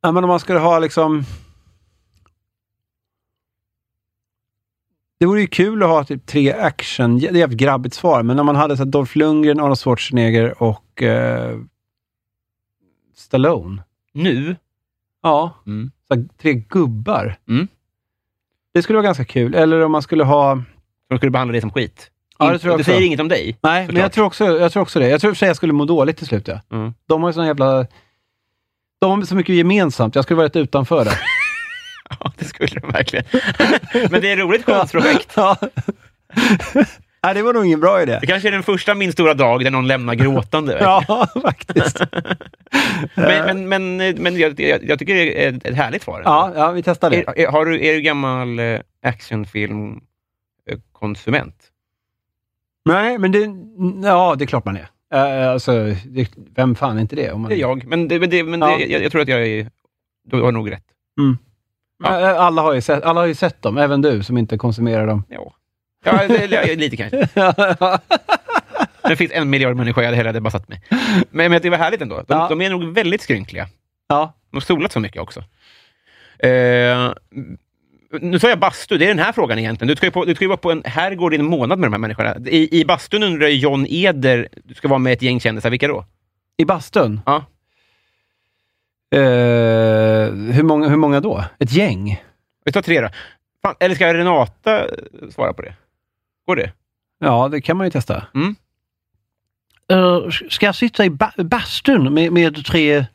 [SPEAKER 3] ja, men om man skulle ha liksom... Det vore ju kul att ha typ tre action... Det är ett jävligt grabbigt svar, men om man hade så här Dolph Lundgren, Arnold Schwarzenegger och eh, Stallone.
[SPEAKER 2] Nu?
[SPEAKER 3] Ja,
[SPEAKER 2] Mm.
[SPEAKER 3] så här, tre gubbar.
[SPEAKER 2] Mm.
[SPEAKER 3] Det skulle vara ganska kul. Eller om man skulle ha...
[SPEAKER 2] De skulle behandla dig som skit.
[SPEAKER 3] Ja, det
[SPEAKER 2] In-
[SPEAKER 3] tror jag
[SPEAKER 2] du
[SPEAKER 3] också.
[SPEAKER 2] säger inget om dig.
[SPEAKER 3] Nej, men jag
[SPEAKER 2] Såklart.
[SPEAKER 3] tror, också, jag tror också det. Jag tror i och för sig jag skulle må dåligt till slut. Ja.
[SPEAKER 2] Mm.
[SPEAKER 3] De har ju sån jävla... De har så mycket gemensamt. Jag skulle vara rätt utanför där.
[SPEAKER 2] Ja, det skulle de verkligen. Men det är ett roligt konstprojekt.
[SPEAKER 3] ja. Nej, det var nog ingen bra idé.
[SPEAKER 2] Det kanske är den första Min stora dag där någon lämnar gråtande.
[SPEAKER 3] Ja, faktiskt.
[SPEAKER 2] Men, men, men, men jag, jag, jag tycker det är ett- ett härligt svar.
[SPEAKER 3] Ja, ja vi testar det.
[SPEAKER 2] Är, är, har du, är du gammal eh, actionfilmkonsument?
[SPEAKER 3] Nej, men det... Ja, det är klart man är. Eh, Alltså, det, vem fan är inte det? Om man,
[SPEAKER 2] Det är jag, men, det, men, det, men
[SPEAKER 3] Ja.
[SPEAKER 2] det, jag, jag tror att jag är... Du har nog rätt. ja.
[SPEAKER 3] Eh, Alla, har ju sett, alla har ju sett dem, även du som inte konsumerar dem.
[SPEAKER 2] Ja, ja det, det- lite kanske. Det finns en miljard människor jag hade hellre hade bara satt mig. Men, men det var härligt ändå. De,
[SPEAKER 3] Ja.
[SPEAKER 2] de är nog väldigt skrynkliga.
[SPEAKER 3] ja.
[SPEAKER 2] De har solat så mycket också. Eh, nu sa jag bastu, det är den här frågan egentligen. Du ska ju, på, du ska ju vara på en herrgård i en månad med de här människorna. I, i bastun undrar ju John Eder, du ska vara med ett gäng kändisar, vilka då?
[SPEAKER 3] I bastun?
[SPEAKER 2] Ja.
[SPEAKER 3] Eh, hur, många, hur många då? Ett gäng?
[SPEAKER 2] Vi tar tre då. Fan, eller ska Renata eh, svara på det? Går det?
[SPEAKER 3] Ja, det kan man ju testa.
[SPEAKER 2] Mm.
[SPEAKER 7] Eh, ska jag sitta i ba- bastun med, med tre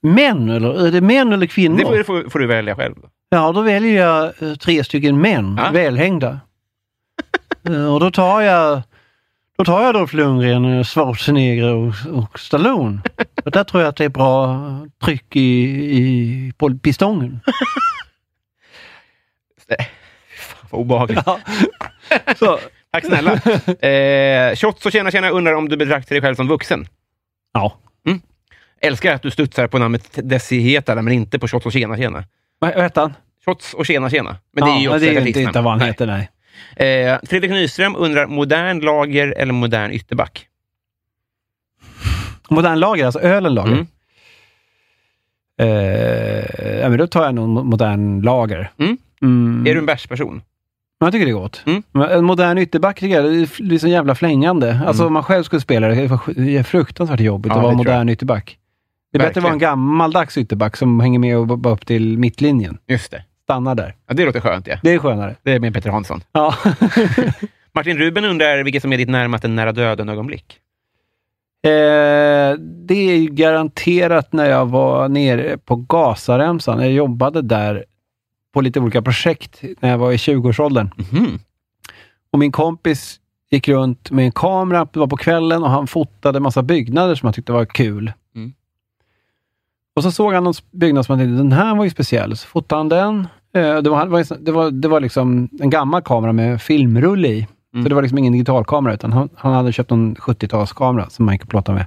[SPEAKER 7] män? Eller? Är det män eller kvinnor?
[SPEAKER 2] Det får, det får, får du välja själv. då.
[SPEAKER 7] Ja, då väljer jag eh, tre stycken män,
[SPEAKER 2] Ja.
[SPEAKER 7] välhängda. Eh, och då tar jag då tar jag Dolph Lundgren, eh, Schwarzenegger och, och Stallone. Och där tror jag att det är bra tryck i, i på pistongen.
[SPEAKER 2] Vad obehagligt.
[SPEAKER 3] Så,
[SPEAKER 2] Tack snälla. Eh, Shots och tjena tjena undrar om du betraktar dig själv som vuxen?
[SPEAKER 3] ja.
[SPEAKER 2] Älskar att du studsar på namnet Desi Hetala, men inte på Shots och tjena tjena.
[SPEAKER 3] Vad vad hette han?
[SPEAKER 2] Shots och tjena tjena. Men det är ju
[SPEAKER 3] ja,
[SPEAKER 2] också
[SPEAKER 3] det är
[SPEAKER 2] ett
[SPEAKER 3] ju inte,
[SPEAKER 2] artistnamn.
[SPEAKER 3] inte vad han
[SPEAKER 2] Nej.
[SPEAKER 3] heter, nej.
[SPEAKER 2] Eh, Fredrik Nyström undrar, modern lager eller modern ytterback?
[SPEAKER 3] Modern lager, alltså ölen lager.
[SPEAKER 2] Mm.
[SPEAKER 3] Eh, ja, men då tar jag nog mo- modern lager.
[SPEAKER 2] Mm.
[SPEAKER 3] Mm.
[SPEAKER 2] Är du en bärsperson?
[SPEAKER 3] Men jag tycker det är gott.
[SPEAKER 2] Mm.
[SPEAKER 3] Men En modern ytterback tycker jag, det är f- det är så jävla flängande. Alltså om man själv skulle spela det, det var sj- det är fruktansvärt jobbigt
[SPEAKER 2] Mm. Ja,
[SPEAKER 3] att vara
[SPEAKER 2] det tror jag.
[SPEAKER 3] modern ytterback. Det är bättre att vara en gammaldags ytterback som hänger med och b- bara upp till mittlinjen.
[SPEAKER 2] Just det.
[SPEAKER 3] Stannar där.
[SPEAKER 2] Ja, det låter skönt. Ja.
[SPEAKER 3] Det är skönare.
[SPEAKER 2] Det är med Peter Hansson.
[SPEAKER 3] Ja.
[SPEAKER 2] Martin Ruben undrar vilket som är ditt närmaste nära döden-ögonblick.
[SPEAKER 3] Eh, det är ju garanterat när jag var nere på Gazaremsan. Jag jobbade där på lite olika projekt när jag var i 20-årsåldern.
[SPEAKER 2] Mhm.
[SPEAKER 3] Och min kompis gick runt med en kamera, det var på kvällen, och han fotade massa byggnader som han tyckte var kul.
[SPEAKER 2] Mm.
[SPEAKER 3] Och så såg han någon byggnad som han tänkte, den här var ju speciell. Så fotade han den. Eh, Det var, det var, en sån- det var, det var liksom en gammal kamera med filmrulle i.
[SPEAKER 2] Mm.
[SPEAKER 3] Så det var liksom ingen digitalkamera, utan han, han hade köpt en 70-talskamera som man gick och plåtade med.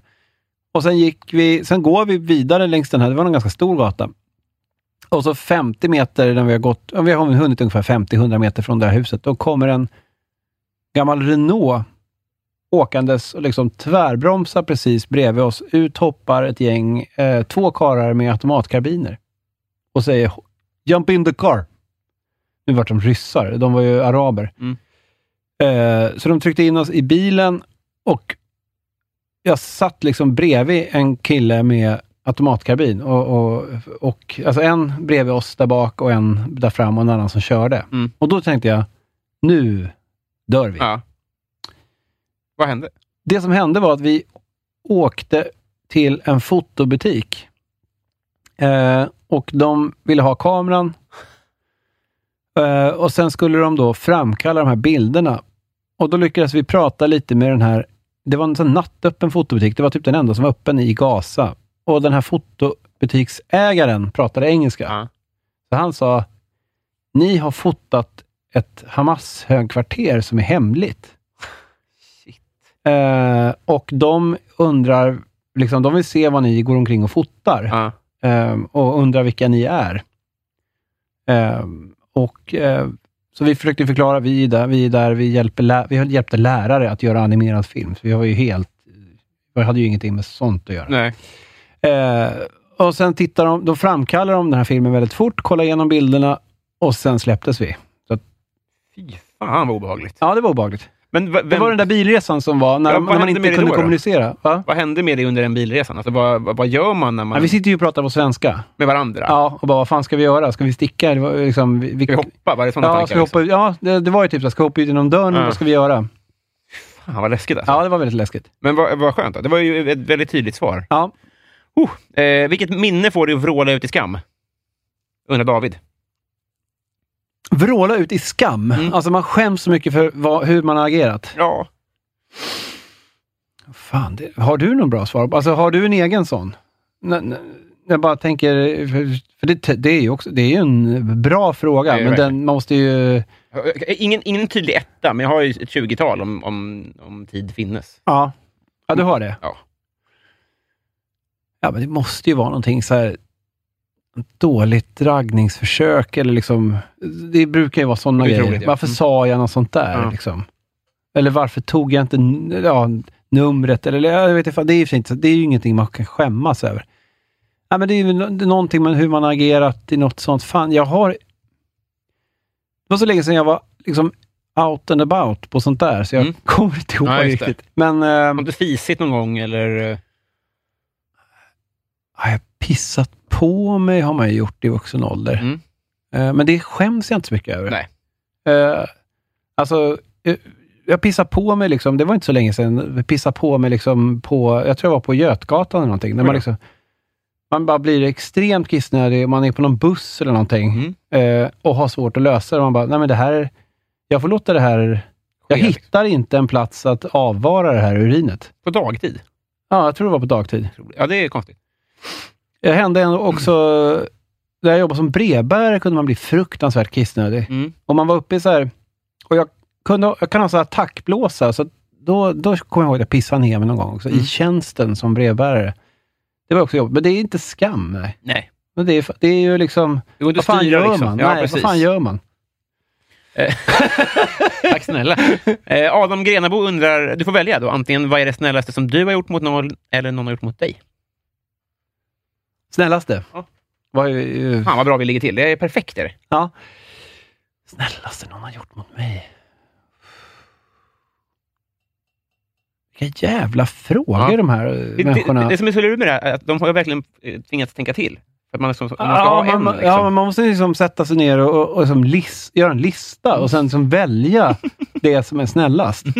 [SPEAKER 3] Och sen gick vi, sen går vi vidare längs den här, det var en ganska stor gata. Och så 50 meter, när vi har gått, ja, vi har hunnit ungefär 50-100 meter från det här huset, då kommer en gammal Renault åkandes och liksom tvärbromsar precis bredvid oss. Ut hoppar ett gäng, eh, två karlar med automatkarbiner och säger ”Jump in the car”. Nu vart de ryssar, de var ju araber.
[SPEAKER 2] Mm.
[SPEAKER 3] Eh, så de tryckte in oss i bilen och jag satt liksom bredvid en kille med automatkarbin. Och, och, och, alltså en bredvid oss där bak och en där fram och en annan som körde.
[SPEAKER 2] Mm.
[SPEAKER 3] Och då tänkte jag, nu dör vi.
[SPEAKER 2] Ja. Vad hände?
[SPEAKER 3] Det som hände var att vi åkte till en fotobutik. Eh, och de ville ha kameran. Eh, och sen skulle de då framkalla de här bilderna. Och då lyckades vi prata lite med den här... Det var en sån nattöppen fotobutik. Det var typ den enda som var öppen i Gaza. och den här fotobutiksägaren pratade engelska.
[SPEAKER 2] Ja.
[SPEAKER 3] Så han sa, ni har fotat ett Hamas-högkvarter som är hemligt. Eh, och de undrar, liksom, de vill se vad ni går omkring och fotar.
[SPEAKER 2] Ja.
[SPEAKER 3] Ehm, och undrar vilka ni är. Ehm, och, eh, så vi försökte förklara, vi är där, vi, är där, vi, hjälper lä- vi hjälpte lärare att göra animerad film, så vi var ju helt... Vi hade ju ingenting med sånt att göra.
[SPEAKER 2] Nej.
[SPEAKER 3] Eh, och sen tittar de, då framkallar de den här filmen väldigt fort, kollar igenom bilderna och sen släpptes vi. Så att,
[SPEAKER 2] Fy fan vad obehagligt.
[SPEAKER 3] ja, det var obehagligt.
[SPEAKER 2] Men v- vem,
[SPEAKER 3] Det var den där bilresan som var, när,
[SPEAKER 2] Ja,
[SPEAKER 3] de-
[SPEAKER 2] vad
[SPEAKER 3] när man
[SPEAKER 2] hände med
[SPEAKER 3] inte
[SPEAKER 2] det
[SPEAKER 3] kunde
[SPEAKER 2] då då?
[SPEAKER 3] kommunicera. Va?
[SPEAKER 2] vad hände med dig under den bilresan? Alltså, vad, vad, vad gör man när man...
[SPEAKER 3] Ja, vi sitter ju och pratar på svenska.
[SPEAKER 2] Med varandra?
[SPEAKER 3] Ja, och bara, vad fan ska vi göra? Ska vi sticka? Det var, liksom, vi,
[SPEAKER 2] Ska vi hoppa? Var det liksom? sådana
[SPEAKER 3] Ja,
[SPEAKER 2] tankar?
[SPEAKER 3] ska vi hoppa ut? ja det, det var ju typ så här, ska vi hoppa ut genom dörren?
[SPEAKER 2] Ja.
[SPEAKER 3] Vad ska vi göra?
[SPEAKER 2] liksom? Fan vad läskigt alltså.
[SPEAKER 3] Ja, det var väldigt läskigt.
[SPEAKER 2] Men vad, vad skönt. Då. Det var ju ett väldigt tydligt svar.
[SPEAKER 3] Ja.
[SPEAKER 2] Oh, eh, vilket minne får du att vråla ut i skam? Undrar David.
[SPEAKER 3] Vråla ut i skam.
[SPEAKER 2] Mm.
[SPEAKER 3] Alltså man skäms så mycket för vad, hur man har agerat.
[SPEAKER 2] Ja.
[SPEAKER 3] Fan, det, har du någon bra svar? Alltså har du en egen sån? N- n- jag bara tänker, för, för det, det är ju också, det är ju en bra fråga,
[SPEAKER 2] Det är det
[SPEAKER 3] men
[SPEAKER 2] verkligen.
[SPEAKER 3] den måste ju...
[SPEAKER 2] Ingen, ingen tydlig etta, men jag har ju ett 20-tal om, om, om tid finnes.
[SPEAKER 3] Ja. ja, du har det?
[SPEAKER 2] Ja.
[SPEAKER 3] Ja, men det måste ju vara någonting så här dåligt dragningsförsök eller liksom, det brukar ju vara sådana
[SPEAKER 2] Det är
[SPEAKER 3] grejer.
[SPEAKER 2] otroligt, ja.
[SPEAKER 3] Varför
[SPEAKER 2] Mm.
[SPEAKER 3] sa jag något sånt där?
[SPEAKER 2] Ja.
[SPEAKER 3] Liksom? Eller varför tog jag inte n- ja, numret? Eller, eller jag vet inte, fan, det är ju i och för sig inte, så- det är ju ingenting man kan skämmas över. Ja, men det är ju nå- det är någonting med hur man har agerat i något sånt. Fan, jag har... Det var så länge sedan jag var liksom out and about på sånt där, så jag
[SPEAKER 2] Mm.
[SPEAKER 3] kommer inte ihåg
[SPEAKER 2] Ja, just det.
[SPEAKER 3] riktigt. Men... ehm,
[SPEAKER 2] Har du fisit någon gång eller? eh,
[SPEAKER 3] Har jag pissat på mig har man ju gjort i vuxen ålder.
[SPEAKER 2] Mm.
[SPEAKER 3] Eh, Men det skäms jag inte så mycket över.
[SPEAKER 2] Nej.
[SPEAKER 3] Eh, Alltså, eh, jag pissade på mig, liksom, det var inte så länge sedan, jag pissade på mig liksom på, jag tror jag var på Götgatan eller någonting.
[SPEAKER 2] Oj
[SPEAKER 3] När
[SPEAKER 2] då.
[SPEAKER 3] man, liksom, man bara blir extremt kissnödig, och man är på någon buss eller
[SPEAKER 2] Mm.
[SPEAKER 3] någonting eh, och har svårt att lösa det. Man bara, nej men det här, jag får låta det här, jag
[SPEAKER 2] Sker.
[SPEAKER 3] hittar inte en plats att avvara det här urinet.
[SPEAKER 2] På dagtid?
[SPEAKER 3] Ja, jag tror det var på dagtid.
[SPEAKER 2] Ja, det är konstigt.
[SPEAKER 3] Det hände ändå också, där jag jobbade som brevbärare kunde man bli fruktansvärt kissnödig.
[SPEAKER 2] Mm.
[SPEAKER 3] Och man var uppe i så här, och jag, kunde, jag kan ha så här attackblåsa, så att då, då kommer jag ihåg att jag pissade ner mig någon gång också,
[SPEAKER 2] Mm.
[SPEAKER 3] i tjänsten som brevbärare. Det var också jobbigt, men det är inte skam. Nej.
[SPEAKER 2] Nej.
[SPEAKER 3] Men det, är, fa- det är ju liksom,
[SPEAKER 2] Det går inte
[SPEAKER 3] vad
[SPEAKER 2] att
[SPEAKER 3] fan
[SPEAKER 2] styra
[SPEAKER 3] gör
[SPEAKER 2] liksom.
[SPEAKER 3] man?
[SPEAKER 2] Ja,
[SPEAKER 3] nej,
[SPEAKER 2] precis.
[SPEAKER 3] vad fan gör man?
[SPEAKER 2] Tack snälla. Eh, Adam Grenabo undrar, du får välja då, antingen vad är det snällaste som du har gjort mot någon eller någon har gjort mot dig?
[SPEAKER 3] Snällaste.
[SPEAKER 2] Ja.
[SPEAKER 3] Var ju,
[SPEAKER 2] Fan vad bra vi ligger till, det är perfekt. Är det.
[SPEAKER 3] ja. Snällaste någon har gjort mot mig. Vilka jävla frågor
[SPEAKER 2] Ja.
[SPEAKER 3] de här eh,
[SPEAKER 2] Det,
[SPEAKER 3] människorna...
[SPEAKER 2] det, det som är så lurigt med det här är att de har ju verkligen eh, tvingats tänka till. För att man, liksom, man ska
[SPEAKER 3] Ja,
[SPEAKER 2] ha
[SPEAKER 3] man,
[SPEAKER 2] en.
[SPEAKER 3] man-
[SPEAKER 2] Liksom.
[SPEAKER 3] ja, men man måste liksom sätta sig ner och, och, och liksom lis, göra en lista och sen liksom välja det som är snällast. Eh,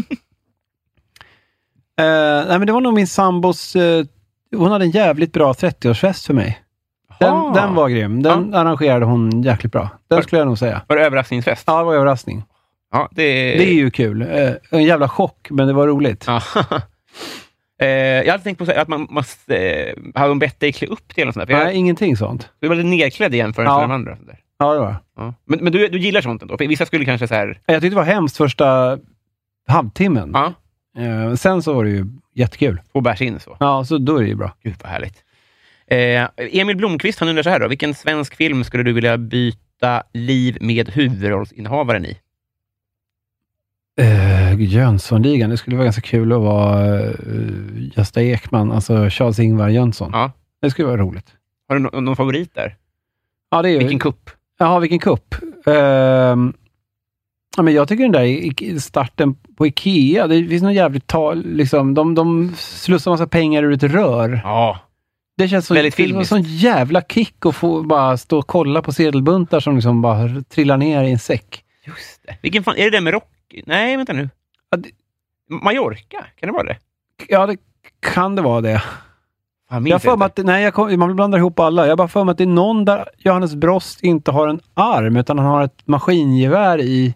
[SPEAKER 3] nej, men det var nog min sambos... eh, hon hade en jävligt bra 30-årsfest för mig. Den,
[SPEAKER 2] Jaha.
[SPEAKER 3] den var grym. Den arrangerade hon jäkligt bra. Den skulle jag nog säga.
[SPEAKER 2] Var det överraskningsfest?
[SPEAKER 3] Ja, det var en överraskning.
[SPEAKER 2] Ja, det är...
[SPEAKER 3] Det är ju kul. Eh, en jävla chock, men det var roligt.
[SPEAKER 2] Ja. Eh, jag hade tänkt på så här, att man måste... Eh, hade de bett dig klä upp dig eller något sånt där? För
[SPEAKER 3] Nej, ingenting sånt.
[SPEAKER 2] jag, du var lite nerklädd i jämförelse
[SPEAKER 3] Ja.
[SPEAKER 2] med de andra. och sånt Där.
[SPEAKER 3] Ja, det var
[SPEAKER 2] Ja. Men, men du, du gillar sånt ändå? För vissa skulle kanske så här...
[SPEAKER 3] Jag tyckte det var hemskt första halvtimmen.
[SPEAKER 2] Ja,
[SPEAKER 3] Eh, sen så var det ju jättekul.
[SPEAKER 2] två bärs in så.
[SPEAKER 3] Ja, så då är det ju bra.
[SPEAKER 2] Gud vad härligt. Eh, Emil Blomqvist han undrar så här då. Vilken svensk film skulle du vilja byta liv med huvudrollsinnehavaren i?
[SPEAKER 3] Uh, Jönssonligan, det skulle vara ganska kul att vara eh, Gösta Ekman, alltså Charles-Ingvar Jönsson.
[SPEAKER 2] Ja.
[SPEAKER 3] Det skulle vara roligt.
[SPEAKER 2] Har du nå- någon favorit där?
[SPEAKER 3] Ja, det är ju...
[SPEAKER 2] Vilken kupp?
[SPEAKER 3] Jaha, vilken kupp. Ehm, ja, men jag tycker den där i- i- starten på Ikea, det finns något jävligt tal, liksom, de, de slussar massa pengar ur ett rör.
[SPEAKER 2] Ja.
[SPEAKER 3] Det känns så,
[SPEAKER 2] Väldigt
[SPEAKER 3] det var en
[SPEAKER 2] filmiskt.
[SPEAKER 3] sån jävla kick att få bara stå och kolla på sedelbuntar som liksom bara trillar ner i en säck.
[SPEAKER 2] Just det. Vilken fan... Är det den med rock? Nej, vänta nu.
[SPEAKER 3] Ja, det-
[SPEAKER 2] Mallorca? Kan det vara det?
[SPEAKER 3] Ja, det kan det vara det.
[SPEAKER 2] Fan, minns
[SPEAKER 3] Jag har för
[SPEAKER 2] inte.
[SPEAKER 3] mig att, nej, jag kom, man blandar ihop alla. Jag har bara för mig att det är någon där Johannes Brost inte har en arm, utan han har ett maskingevär i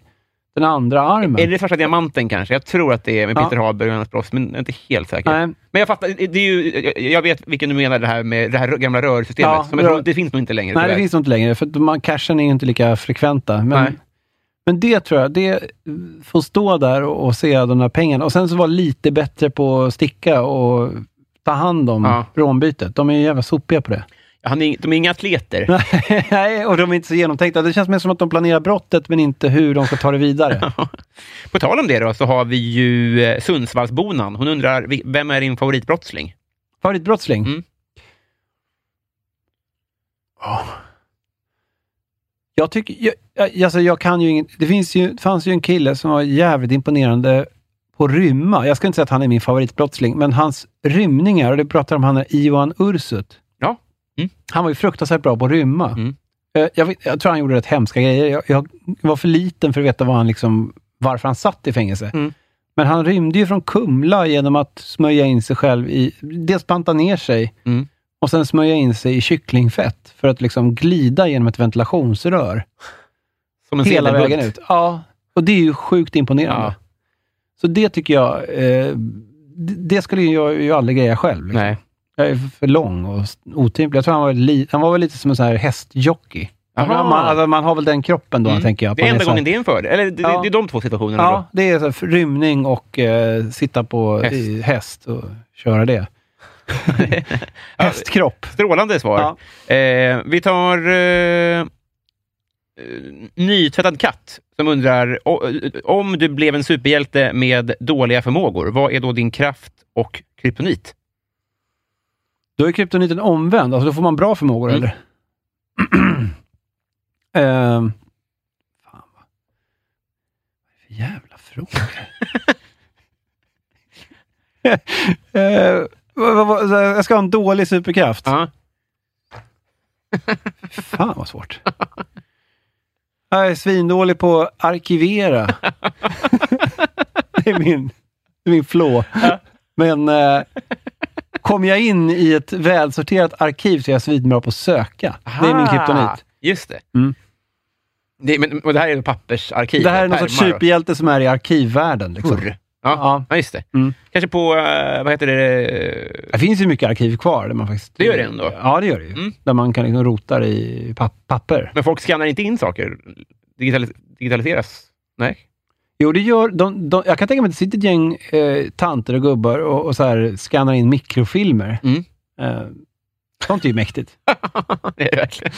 [SPEAKER 3] den andra armen.
[SPEAKER 2] Är det Svarta Diamanten kanske? Jag tror att det är med
[SPEAKER 3] Ja.
[SPEAKER 2] Peter Haber och Johannes Brost, men jag är inte helt säker.
[SPEAKER 3] Nej.
[SPEAKER 2] Men jag fattar, det är ju, jag- jag vet vilken du menar, det här med det här gamla rörsystemet.
[SPEAKER 3] Ja,
[SPEAKER 2] som jag tror,
[SPEAKER 3] rör-
[SPEAKER 2] det finns nog inte längre.
[SPEAKER 3] Nej, det
[SPEAKER 2] tyvärr.
[SPEAKER 3] finns nog inte längre, för att man, cashen är ju inte lika frekventa.
[SPEAKER 2] Nej.
[SPEAKER 3] Men, men det tror jag, det får stå där och, och se de där pengarna. Och sen så vara lite bättre på att sticka och ta hand om
[SPEAKER 2] Ja.
[SPEAKER 3] rånbytet. De är ju jävla sopiga på det.
[SPEAKER 2] Han är, de är inga atleter.
[SPEAKER 3] Nej, och de är inte så genomtänkta. Det känns mer som att de planerar brottet, men inte hur de ska ta det vidare.
[SPEAKER 2] På tal om det då, så har vi ju eh, Sundsvallsbonan. Hon undrar, vi- vem är din favoritbrottsling?
[SPEAKER 3] Favoritbrottsling?
[SPEAKER 2] Mm.
[SPEAKER 3] Ja. Jag tycker... Jag, jag- alltså jag kan ju inget... Det finns ju, fanns ju en kille som var jävligt imponerande på rymma. Jag ska inte säga att han är min favoritbrottsling, men hans rymningar, och det pratar om han är Ivan Ursut.
[SPEAKER 2] Ja. Mm.
[SPEAKER 3] Han var ju fruktansvärt bra på att rymma.
[SPEAKER 2] Mm.
[SPEAKER 3] Eh, Jag, vet- jag tror han gjorde rätt hemska grejer. Jag, jag var för liten för att veta vad han liksom, varför han satt i fängelse.
[SPEAKER 2] Mm.
[SPEAKER 3] Men han rymde ju från Kumla genom att smörja in sig själv i... Dels banta ner sig
[SPEAKER 2] Mm.
[SPEAKER 3] och sen smörja in sig i kycklingfett för att liksom glida genom ett ventilationsrör
[SPEAKER 2] Som en
[SPEAKER 3] hela
[SPEAKER 2] sedelbunt.
[SPEAKER 3] vägen ut. Ja, och det är ju sjukt imponerande.
[SPEAKER 2] Ja.
[SPEAKER 3] Så det tycker jag... Eh, d- det skulle ju jag ju aldrig greja själv. Liksom.
[SPEAKER 2] Nej.
[SPEAKER 3] Jag är för lång och s- otymplig. Jag tror han var, li, han var väl lite som en sån här hästjockey.
[SPEAKER 2] Jaha.
[SPEAKER 3] Man, alltså, man har väl den kroppen då,
[SPEAKER 2] Mm.
[SPEAKER 3] tänker jag. att
[SPEAKER 2] Det är
[SPEAKER 3] man
[SPEAKER 2] enda
[SPEAKER 3] så här-
[SPEAKER 2] gången det är en fördel. Eller det,
[SPEAKER 3] Ja.
[SPEAKER 2] det är de två situationerna.
[SPEAKER 3] Ja, det är så här, rymning och eh, sitta på
[SPEAKER 2] Häst.
[SPEAKER 3] häst, i, häst och köra det.
[SPEAKER 2] Ja.
[SPEAKER 3] Hästkropp.
[SPEAKER 2] då. Strålande svar. Eh, vi tar eh, eh, Nytvättad katt som undrar, o- eh, om du blev en superhjälte med dåliga förmågor, vad är då din kraft och kryptonit?
[SPEAKER 3] Då är kryptoniten omvänd. Alltså, då får man bra förmågor,
[SPEAKER 2] Mm.
[SPEAKER 3] eller? Ehm, fan, vad vad är det för jävla frågor? Eh, vad- vad- vad- så här, jag ska ha en dålig superkraft.
[SPEAKER 2] Ja.
[SPEAKER 3] Fan vad svårt. Jag är svindålig på att arkivera. det är min, det är min flå. Men eh, kom jag in i ett välsorterat arkiv så är jag svinbra på att söka. Det är min kryptonit.
[SPEAKER 2] Just det.
[SPEAKER 3] Mm.
[SPEAKER 2] det men, och det här är ju pappersarkiv?
[SPEAKER 3] Det här är någon
[SPEAKER 2] pärmar
[SPEAKER 3] sorts
[SPEAKER 2] och-
[SPEAKER 3] superhjälte som är i arkivvärlden. Liksom.
[SPEAKER 2] Kurr. Ja,
[SPEAKER 3] Ja.
[SPEAKER 2] ja, just det.
[SPEAKER 3] Mm.
[SPEAKER 2] Kanske på, eh, vad heter det,
[SPEAKER 3] Det finns ju mycket arkiv kvar. Där man faktiskt,
[SPEAKER 2] Det gör det ändå.
[SPEAKER 3] Ja, det gör det ju.
[SPEAKER 2] Mm.
[SPEAKER 3] Där man kan liksom rota i papp- papper.
[SPEAKER 2] Men folk skannar inte in saker? Digitali- digitaliseras? Nej?
[SPEAKER 3] Jo, det gör... De, de, jag kan tänka mig att det sitter ett gäng eh, tanter och gubbar och, och så här skannar in mikrofilmer.
[SPEAKER 2] Mm.
[SPEAKER 3] Eh, sånt är ju mäktigt.
[SPEAKER 2] det är det verkligen.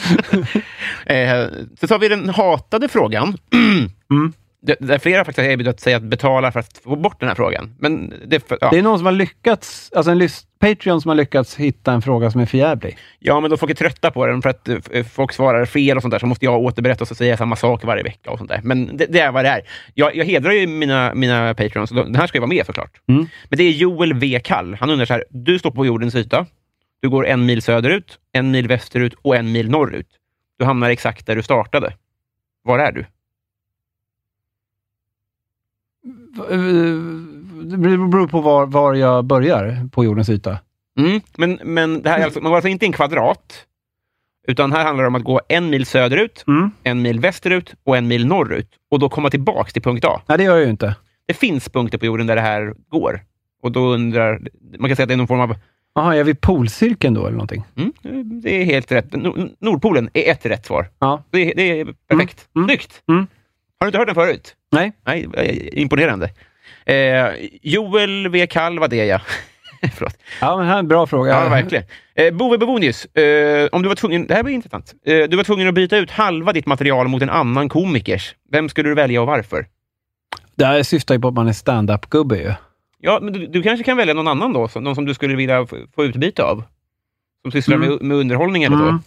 [SPEAKER 2] eh, så tar vi den hatade frågan.
[SPEAKER 3] Mm.
[SPEAKER 2] Det- Där flera faktiskt har erbjudit sig att betala för att få bort den här frågan. Men det, är för- ja.
[SPEAKER 3] Det är någon som har lyckats, alltså en lys- Patreon som har lyckats hitta en fråga som är förjävlig.
[SPEAKER 2] ja, men då folk är trötta på den för att eh, f- eh, folk svarar fel och sånt där, så måste jag återberätta och så säga samma sak varje vecka. och sånt där. Men det, det är vad det är. Jag, jag hedrar ju mina, mina patrons, och de- den här ska ju vara med såklart.
[SPEAKER 3] Mm.
[SPEAKER 2] Men det är Joel V. Kall. Han undrar så här, du står på jordens yta. Du går en mil söderut, en mil västerut och en mil norrut. Du hamnar exakt där du startade. Var är du?
[SPEAKER 3] V- eh, Det beror på var, var jag börjar på jordens yta.
[SPEAKER 2] Mm. Men, men det här är alltså, man går alltså inte i en kvadrat, utan här handlar det om att gå en mil söderut,
[SPEAKER 3] Mm.
[SPEAKER 2] en mil västerut och en mil norrut och då komma tillbaka till punkt A.
[SPEAKER 3] Nej, det gör jag ju inte.
[SPEAKER 2] Det finns punkter på jorden där det här går. Och då undrar, man kan säga att det är någon form av...
[SPEAKER 3] Jaha, är jag vid polcirkeln då eller någonting?
[SPEAKER 2] Mm, det är helt rätt. Nor- Nordpolen är ett rätt svar.
[SPEAKER 3] Ja.
[SPEAKER 2] Det är, det är perfekt.
[SPEAKER 3] Mm, mm,
[SPEAKER 2] Snyggt!
[SPEAKER 3] mm.
[SPEAKER 2] Har du inte hört den förut?
[SPEAKER 3] Nej.
[SPEAKER 2] Nej, eh, imponerande. Eh, Joel V. Kall var det, ja. Förlåt.
[SPEAKER 3] Ja, men här är en bra fråga.
[SPEAKER 2] Ja, verkligen. Eh, Bove Bebonius, eh, om du var tvungen... Det här blir intressant. Eh, du var tvungen att byta ut halva ditt material mot en annan komikers. Vem skulle du välja och varför?
[SPEAKER 3] Det här syftar ju på att man är stand-up-gubbe ju.
[SPEAKER 2] Ja, men du, du kanske kan välja någon annan då, som, någon som du skulle vilja f- få utbyte av? Som sysslar
[SPEAKER 3] Mm.
[SPEAKER 2] med, med underhållning eller så?
[SPEAKER 3] Mm.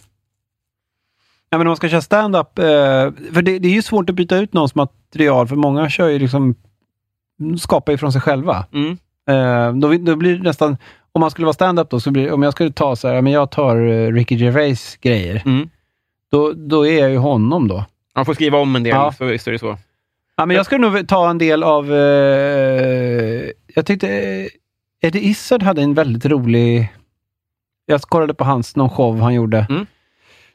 [SPEAKER 3] Ja, men om man ska köra stand-up, eh, för det, det är ju svårt att byta ut någons material, för många kör ju liksom, skapar ju från sig själva.
[SPEAKER 2] Mm.
[SPEAKER 3] Eh, då, vi- då blir det nästan, om man skulle vara stand-up då, så blir, om jag skulle ta så här, ja, men jag tar eh, Ricky Gervais grejer,
[SPEAKER 2] Mm.
[SPEAKER 3] då, då är jag ju honom då.
[SPEAKER 2] Man får skriva om en del,
[SPEAKER 3] Ja.
[SPEAKER 2] så, så är det så.
[SPEAKER 3] Ja, men jag skulle nog ta en del av, eh, jag tyckte eh, Eddie Izzard hade en väldigt rolig, jag kollade på hans, någon show han gjorde.
[SPEAKER 2] Mm.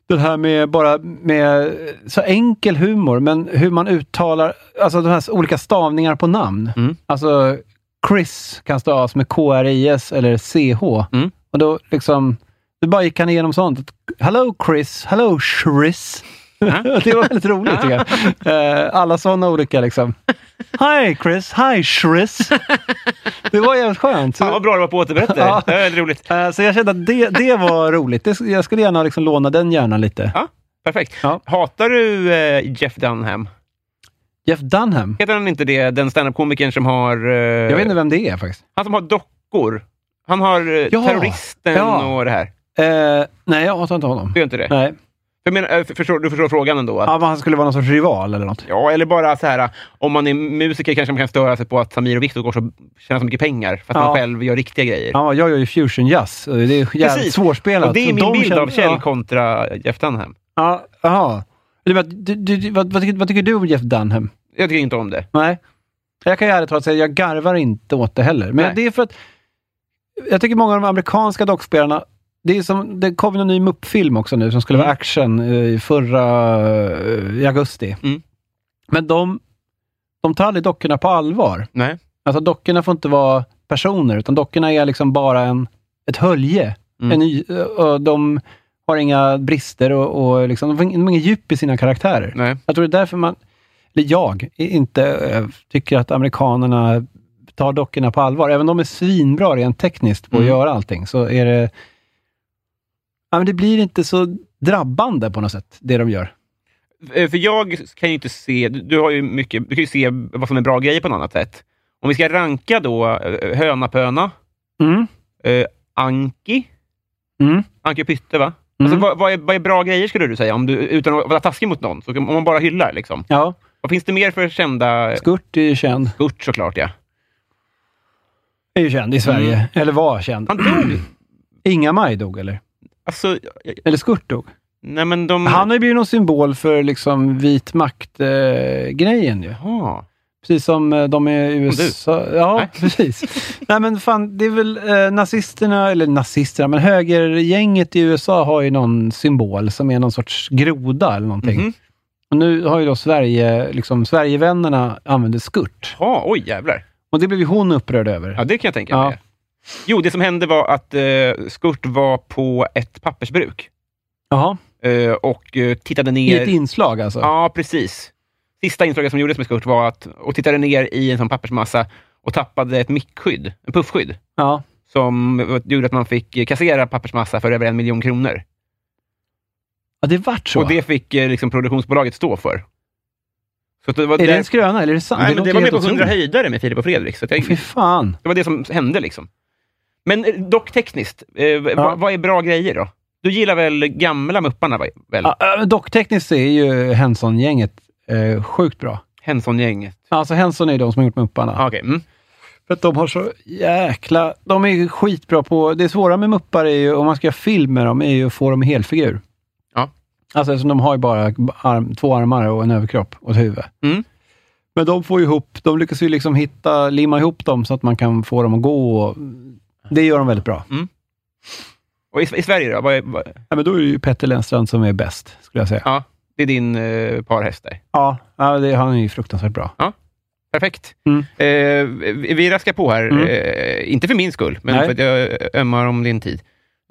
[SPEAKER 3] Den här med bara med så enkel humor, men hur man uttalar, alltså de här olika stavningar på namn.
[SPEAKER 2] Mm.
[SPEAKER 3] Alltså Chris kan stavas med K-R-I-S eller C-H.
[SPEAKER 2] Mm.
[SPEAKER 3] Och då liksom, då bara gick han igenom sånt. Hello Chris, hello Chris. det var väldigt roligt tycker jag. Eh, Alla sådana olika liksom. Hi Chris, hi Chris. Det var jävligt skönt.
[SPEAKER 2] Fan vad bra det var på återberättare.
[SPEAKER 3] Ja.
[SPEAKER 2] Det var väldigt roligt.
[SPEAKER 3] Eh, Så jag kände att det, det var roligt. Det, jag skulle gärna liksom låna den hjärnan lite.
[SPEAKER 2] Ja, perfekt.
[SPEAKER 3] Ja.
[SPEAKER 2] Hatar du eh, Jeff Dunham?
[SPEAKER 3] Jeff Dunham.
[SPEAKER 2] Heter han inte det, den standup-komikern som har... Eh,
[SPEAKER 3] Jag vet inte vem det är faktiskt.
[SPEAKER 2] Han som har dockor. Han har eh,
[SPEAKER 3] Ja.
[SPEAKER 2] terroristen
[SPEAKER 3] Ja.
[SPEAKER 2] och det här.
[SPEAKER 3] Eh, nej, jag hatar inte honom.
[SPEAKER 2] Du gör inte det?
[SPEAKER 3] Nej.
[SPEAKER 2] Jag menar, eh, för- förstår, du förstår frågan ändå? Att, ja.
[SPEAKER 3] Ja, men han skulle vara någon sorts rival eller något.
[SPEAKER 2] eller bara så här, eh, om man är musiker kanske man kan störa sig på att Samir och Viktor går så tjänar så mycket pengar, fast
[SPEAKER 3] Ja.
[SPEAKER 2] man själv gör riktiga grejer.
[SPEAKER 3] Ja, jag gör ju fusion jazz. och Det är jävligt
[SPEAKER 2] Precis.
[SPEAKER 3] svårspelat.
[SPEAKER 2] Och det är
[SPEAKER 3] Så
[SPEAKER 2] min
[SPEAKER 3] de
[SPEAKER 2] bild
[SPEAKER 3] känner-
[SPEAKER 2] av Kjell
[SPEAKER 3] Ja,
[SPEAKER 2] kontra Jeff Dunham.
[SPEAKER 3] Ja, aha. Du, menar att du, du, du, vad, vad, tycker, vad tycker du om Jeff Dunham?
[SPEAKER 2] Jag tycker inte om det.
[SPEAKER 3] Nej. Jag kan ju ärligt talat säga, jag garvar inte åt det heller. Men
[SPEAKER 2] Nej.
[SPEAKER 3] det är för att jag tycker många av de amerikanska dockspelarna det, är som, det kom ju en ny Mupp-film också nu som skulle
[SPEAKER 2] Mm.
[SPEAKER 3] vara action eh, i förra eh, i augusti.
[SPEAKER 2] Mm.
[SPEAKER 3] Men de, de tar aldrig dockorna på allvar.
[SPEAKER 2] Nej.
[SPEAKER 3] Alltså dockorna får inte vara personer, utan dockorna är liksom bara en, ett hölje.
[SPEAKER 2] Mm.
[SPEAKER 3] En ny, eh, och de har inga brister och, och liksom, de får ing- de har inget djup i sina karaktärer.
[SPEAKER 2] Nej.
[SPEAKER 3] Jag tror det är därför man, eller jag, i- inte eh, tycker att amerikanerna tar dockorna på allvar. Även om de är svinbra rent tekniskt på att
[SPEAKER 2] Mm.
[SPEAKER 3] göra allting, så är det... Ja, men det blir inte så drabbande på något sätt, det de gör.
[SPEAKER 2] Eh, För jag kan ju inte se... Du, du har ju mycket... Du kan ju se vad som är bra grejer på något annat sätt. Om vi ska ranka då eh, Hönapöna,
[SPEAKER 3] Mm.
[SPEAKER 2] eh, Anki,
[SPEAKER 3] Mm.
[SPEAKER 2] Anki och Pytte va?
[SPEAKER 3] Mm.
[SPEAKER 2] Alltså, vad, vad, är, vad är bra grejer skulle du säga, om du, utan att vara taskig mot någon? Så, om man bara hyllar liksom.
[SPEAKER 3] Ja,
[SPEAKER 2] Vad finns det mer för kända...
[SPEAKER 3] Skurt är ju känd.
[SPEAKER 2] Skurt såklart ja.
[SPEAKER 3] Är ju känd i Sverige.
[SPEAKER 2] Mm.
[SPEAKER 3] Eller var känd.
[SPEAKER 2] Han dog!
[SPEAKER 3] Inga-Maj dog, eller?
[SPEAKER 2] Alltså, jag-
[SPEAKER 3] Eller Skurt dog.
[SPEAKER 2] nej men de...
[SPEAKER 3] Han har ju blivit någon symbol för liksom vit makt-grejen ju.
[SPEAKER 2] Jaha.
[SPEAKER 3] Precis som eh, de är i
[SPEAKER 2] du.
[SPEAKER 3] USA. Ja,
[SPEAKER 2] Nej.
[SPEAKER 3] precis. Nej, men fan, det är väl eh, nazisterna, eller nazisterna, men högergänget i USA har ju någon symbol som är någon sorts groda eller någonting.
[SPEAKER 2] Mhm.
[SPEAKER 3] Och nu har ju då Sverige, liksom, Sverigevännerna använder skurt.
[SPEAKER 2] Ja, oj jävlar.
[SPEAKER 3] Och det blev ju hon upprörd över.
[SPEAKER 2] Ja, det kan jag tänka
[SPEAKER 3] Ja.
[SPEAKER 2] mig. Jo, det som hände var att eh, Skurt var på ett pappersbruk
[SPEAKER 3] Jaha.
[SPEAKER 2] eh, och eh, tittade
[SPEAKER 3] I ett
[SPEAKER 2] ner...
[SPEAKER 3] inslag alltså?
[SPEAKER 2] Ja, precis. Sista inslaget som gjordes med Skurt var att... Och tittade ner i en sån pappersmassa och tappade ett mickskydd, en puffskydd,
[SPEAKER 3] Ja.
[SPEAKER 2] som gjorde att man fick eh, kassera pappersmassa för över en miljon kronor.
[SPEAKER 3] ja, det vart så.
[SPEAKER 2] Och det fick eh, liksom, produktionsbolaget stå för. Så att det var
[SPEAKER 3] är det
[SPEAKER 2] där-
[SPEAKER 3] en skröna eller är det sant?
[SPEAKER 2] Nej, men det
[SPEAKER 3] låter
[SPEAKER 2] var med
[SPEAKER 3] helt
[SPEAKER 2] på 100
[SPEAKER 3] otroligt.
[SPEAKER 2] höjdare med Filip och Fredrik. Så att jag,
[SPEAKER 3] Fy fan.
[SPEAKER 2] det var det som hände. liksom. Men eh, dock tekniskt, eh, v-
[SPEAKER 3] Ja.
[SPEAKER 2] vad, vad är bra grejer då? Du gillar väl gamla Mupparna? va- Väl?
[SPEAKER 3] Ja, äh, docktekniskt är ju Henson-gänget eh, sjukt bra.
[SPEAKER 2] Henson-gänget.
[SPEAKER 3] Alltså Henson är ju de som har gjort Mupparna.
[SPEAKER 2] Ah, okej, mm.
[SPEAKER 3] För att de har så jäkla... De är ju skitbra på... Det svåra med muppar är ju, om man ska göra film med dem, är ju att få dem i helfigur.
[SPEAKER 2] Ja.
[SPEAKER 3] Alltså eftersom de har ju bara arm, två armar och en överkropp och ett huvud.
[SPEAKER 2] Mm.
[SPEAKER 3] Men de får ju ihop... De lyckas ju liksom hitta, limma ihop dem så att man kan få dem att gå. Och, det gör de väldigt bra.
[SPEAKER 2] Mm. Och i, i Sverige då? Vad är, vad,
[SPEAKER 3] Ja, men då är det ju Petter Lennstrand som är bäst, skulle jag säga.
[SPEAKER 2] ja, det är din eh, parhäst där.
[SPEAKER 3] Ja, ja det, han är ju fruktansvärt bra.
[SPEAKER 2] Perfekt.
[SPEAKER 3] Mm.
[SPEAKER 2] Eh, vi vi raskar på här.
[SPEAKER 3] Mm.
[SPEAKER 2] Eh, inte för min skull, men
[SPEAKER 3] Nej.
[SPEAKER 2] för att jag ömmar om din tid.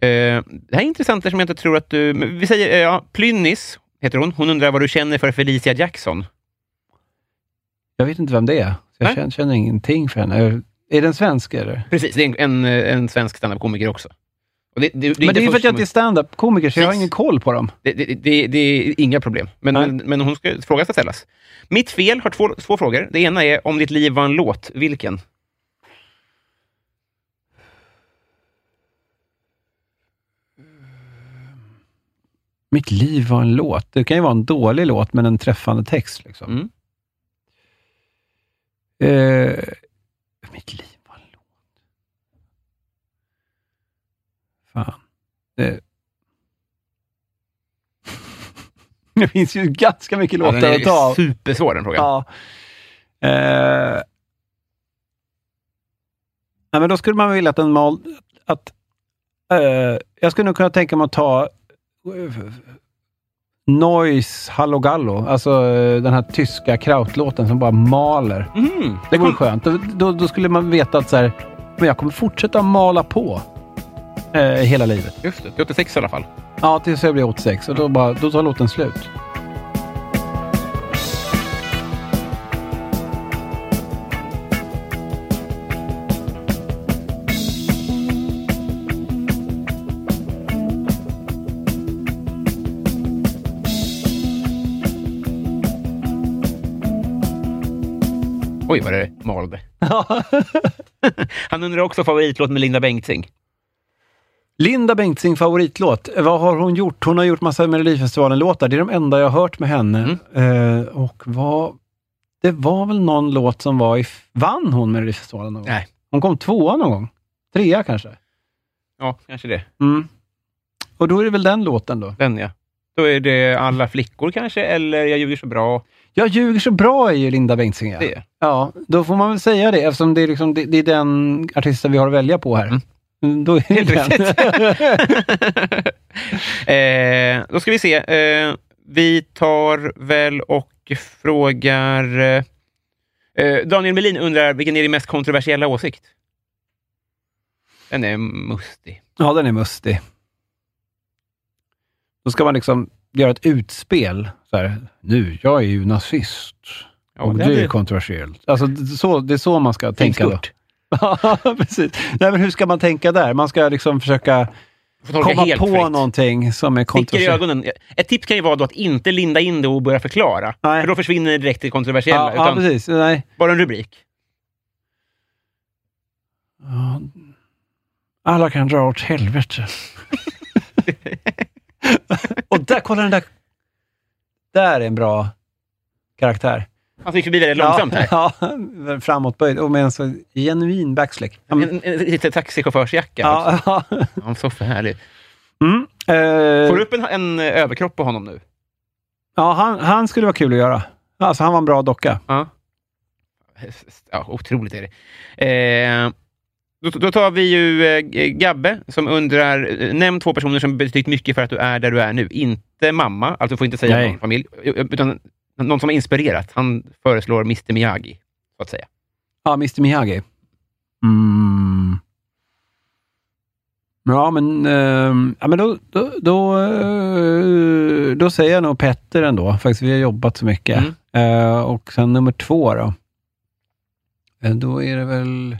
[SPEAKER 2] Eh, det här är intressant som jag inte tror att du... men Vi säger eh, ja, Plynnis, heter hon. Hon undrar vad du känner för Felicia Jackson.
[SPEAKER 3] Jag vet inte vem det är. Så jag
[SPEAKER 2] Nej.
[SPEAKER 3] känner, känner ingenting för henne. Är, är den svensk eller?
[SPEAKER 2] Precis, det är en, en, eh, en svensk standup-komiker också. Och det, det, det, är
[SPEAKER 3] men
[SPEAKER 2] inte
[SPEAKER 3] det är ju för att
[SPEAKER 2] först
[SPEAKER 3] jag inte är standup-komiker, så jag har
[SPEAKER 2] Precis.
[SPEAKER 3] ingen koll på dem.
[SPEAKER 2] Det, det, det, det är inga problem. Men,
[SPEAKER 3] Nej.
[SPEAKER 2] men, men hon ska, frågan ska ställas. Mitt fel har två, två frågor. Det ena är om ditt liv var en låt, vilken?
[SPEAKER 3] Mitt liv var en låt. Det kan ju vara en dålig låt, men en träffande text. Liksom.
[SPEAKER 2] Mm.
[SPEAKER 3] Eh, mitt liv var en låt. Fan. Eh. det finns ju ganska mycket
[SPEAKER 2] Ja, den
[SPEAKER 3] låtar att ta
[SPEAKER 2] är
[SPEAKER 3] av.
[SPEAKER 2] supersvår den frågan.
[SPEAKER 3] Ja. Eh. Nej, men då skulle man vilja att en mal... Att, eh, jag skulle nog kunna tänka mig att ta eh, Noise Hallo Gallo, alltså eh, den här tyska krautlåten som bara maler.
[SPEAKER 2] Mm.
[SPEAKER 3] Det vore skönt. Då, då, då skulle man veta att så här, men jag kommer fortsätta mala på eh, hela livet.
[SPEAKER 2] Just det, 86 i alla fall.
[SPEAKER 3] Ja, tills jag blir 86 och då, bara, då tar låten slut.
[SPEAKER 2] Oj, vad det malde. Han undrar också favoritlåt med Linda Bengtzing.
[SPEAKER 3] Linda Bengtzing favoritlåt. Vad har hon gjort? Hon har gjort massa Melodifestivalen-låtar. Det är de enda jag har hört med henne. Eh, och vad... Det var väl någon låt som var i... Vann hon Melodifestivalen någon gång?
[SPEAKER 2] Nej.
[SPEAKER 3] Hon kom tvåa någon gång. Trea kanske.
[SPEAKER 2] Ja, kanske det.
[SPEAKER 3] Mm. Och då är det väl den låten då.
[SPEAKER 2] Den ja. Då är det Alla flickor kanske, eller Jag ljuger så bra.
[SPEAKER 3] Jag ljuger så bra är ju Linda Bengtzing. Ja.
[SPEAKER 2] Det.
[SPEAKER 3] ja, då får man väl säga det eftersom det är, liksom, det, det är den artisten vi har att välja på här.
[SPEAKER 2] Mm.
[SPEAKER 3] Mm. Då är det
[SPEAKER 2] Helt
[SPEAKER 3] den.
[SPEAKER 2] eh, då ska vi se. Eh, vi tar väl och frågar... eh, Eh, Daniel Melin undrar vilken är din mest kontroversiella åsikt? Den är mustig.
[SPEAKER 3] Ja, den är mustig. Då ska man liksom göra ett utspel. Så här, nu, jag är ju nazist.
[SPEAKER 2] Ja,
[SPEAKER 3] och
[SPEAKER 2] det
[SPEAKER 3] det,
[SPEAKER 2] hade-
[SPEAKER 3] är kontroversiellt. Alltså, det, så, det är så man ska
[SPEAKER 2] Tänk
[SPEAKER 3] tänka. då.
[SPEAKER 2] stort.
[SPEAKER 3] Ja, precis. Nej, men hur ska man tänka där? Man ska liksom försöka
[SPEAKER 2] Får tolka
[SPEAKER 3] komma
[SPEAKER 2] helt
[SPEAKER 3] på
[SPEAKER 2] fritt.
[SPEAKER 3] någonting som är
[SPEAKER 2] Sticker i
[SPEAKER 3] kontroversiellt.
[SPEAKER 2] ögonen. Ett tips kan ju vara då att inte linda in det och börja förklara.
[SPEAKER 3] Nej.
[SPEAKER 2] För då försvinner det direkt till kontroversiella.
[SPEAKER 3] Ja, ja,
[SPEAKER 2] utan
[SPEAKER 3] precis. Nej.
[SPEAKER 2] bara en rubrik.
[SPEAKER 3] Ja. Alla kan dra åt helvete. och där, kolla den där. Där är en bra karaktär.
[SPEAKER 2] Han gick förbi väldigt långsamt här.
[SPEAKER 3] Ja, ja framåtböjd och med en så genuin backslick. Ja, men-
[SPEAKER 2] En, en, lite taxichaufförsjacka. också.
[SPEAKER 3] ja, ja.
[SPEAKER 2] Han så för härlig.
[SPEAKER 3] Mm. Eh,
[SPEAKER 2] Får du upp en, en överkropp på honom nu?
[SPEAKER 3] ja han, han skulle vara kul att göra. Alltså, han var en bra docka.
[SPEAKER 2] Ja. ja otroligt är det. Eh, då, då tar vi ju eh, Gabbe som undrar, eh, nämn två personer som betytt mycket för att du är där du är nu. Inte mamma, alltså du får inte säga
[SPEAKER 3] Nej.
[SPEAKER 2] någon familj, eh, utan någon som har inspirerat. Han föreslår Mr Miyagi, så att säga.
[SPEAKER 3] Ja, Mr Miyagi. Mm. Ja, men, ehm, ja, men då, då, då, eh, då säger jag nog Petter ändå. Faktiskt, vi har jobbat så mycket.
[SPEAKER 2] Mm.
[SPEAKER 3] Eh, och sen nummer två då. Eh, då är det väl...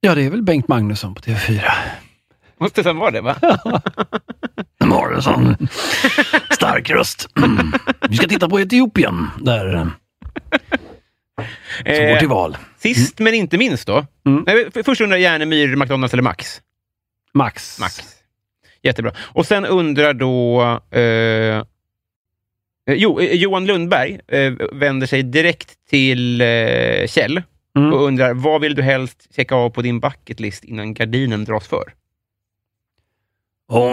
[SPEAKER 3] Ja, det är väl Bengt Magnusson på TV4.
[SPEAKER 2] Måste sen vara det, va?
[SPEAKER 7] Morrison. Stark röst. Mm. Vi ska titta på Etiopien, där, eh, som går till
[SPEAKER 2] Eh,
[SPEAKER 7] val.
[SPEAKER 2] sist men inte minst då.
[SPEAKER 3] Mm.
[SPEAKER 2] Nej, för- först undrar Järnemyr, McDonalds eller Max?
[SPEAKER 3] Max.
[SPEAKER 2] Max. Jättebra. Och sen undrar då... Eh, jo, eh, Johan Lundberg eh, vänder sig direkt till eh, Kjell
[SPEAKER 3] Mm.
[SPEAKER 2] och undrar vad vill du helst checka av på din bucketlist innan gardinen dras för?
[SPEAKER 7] Och,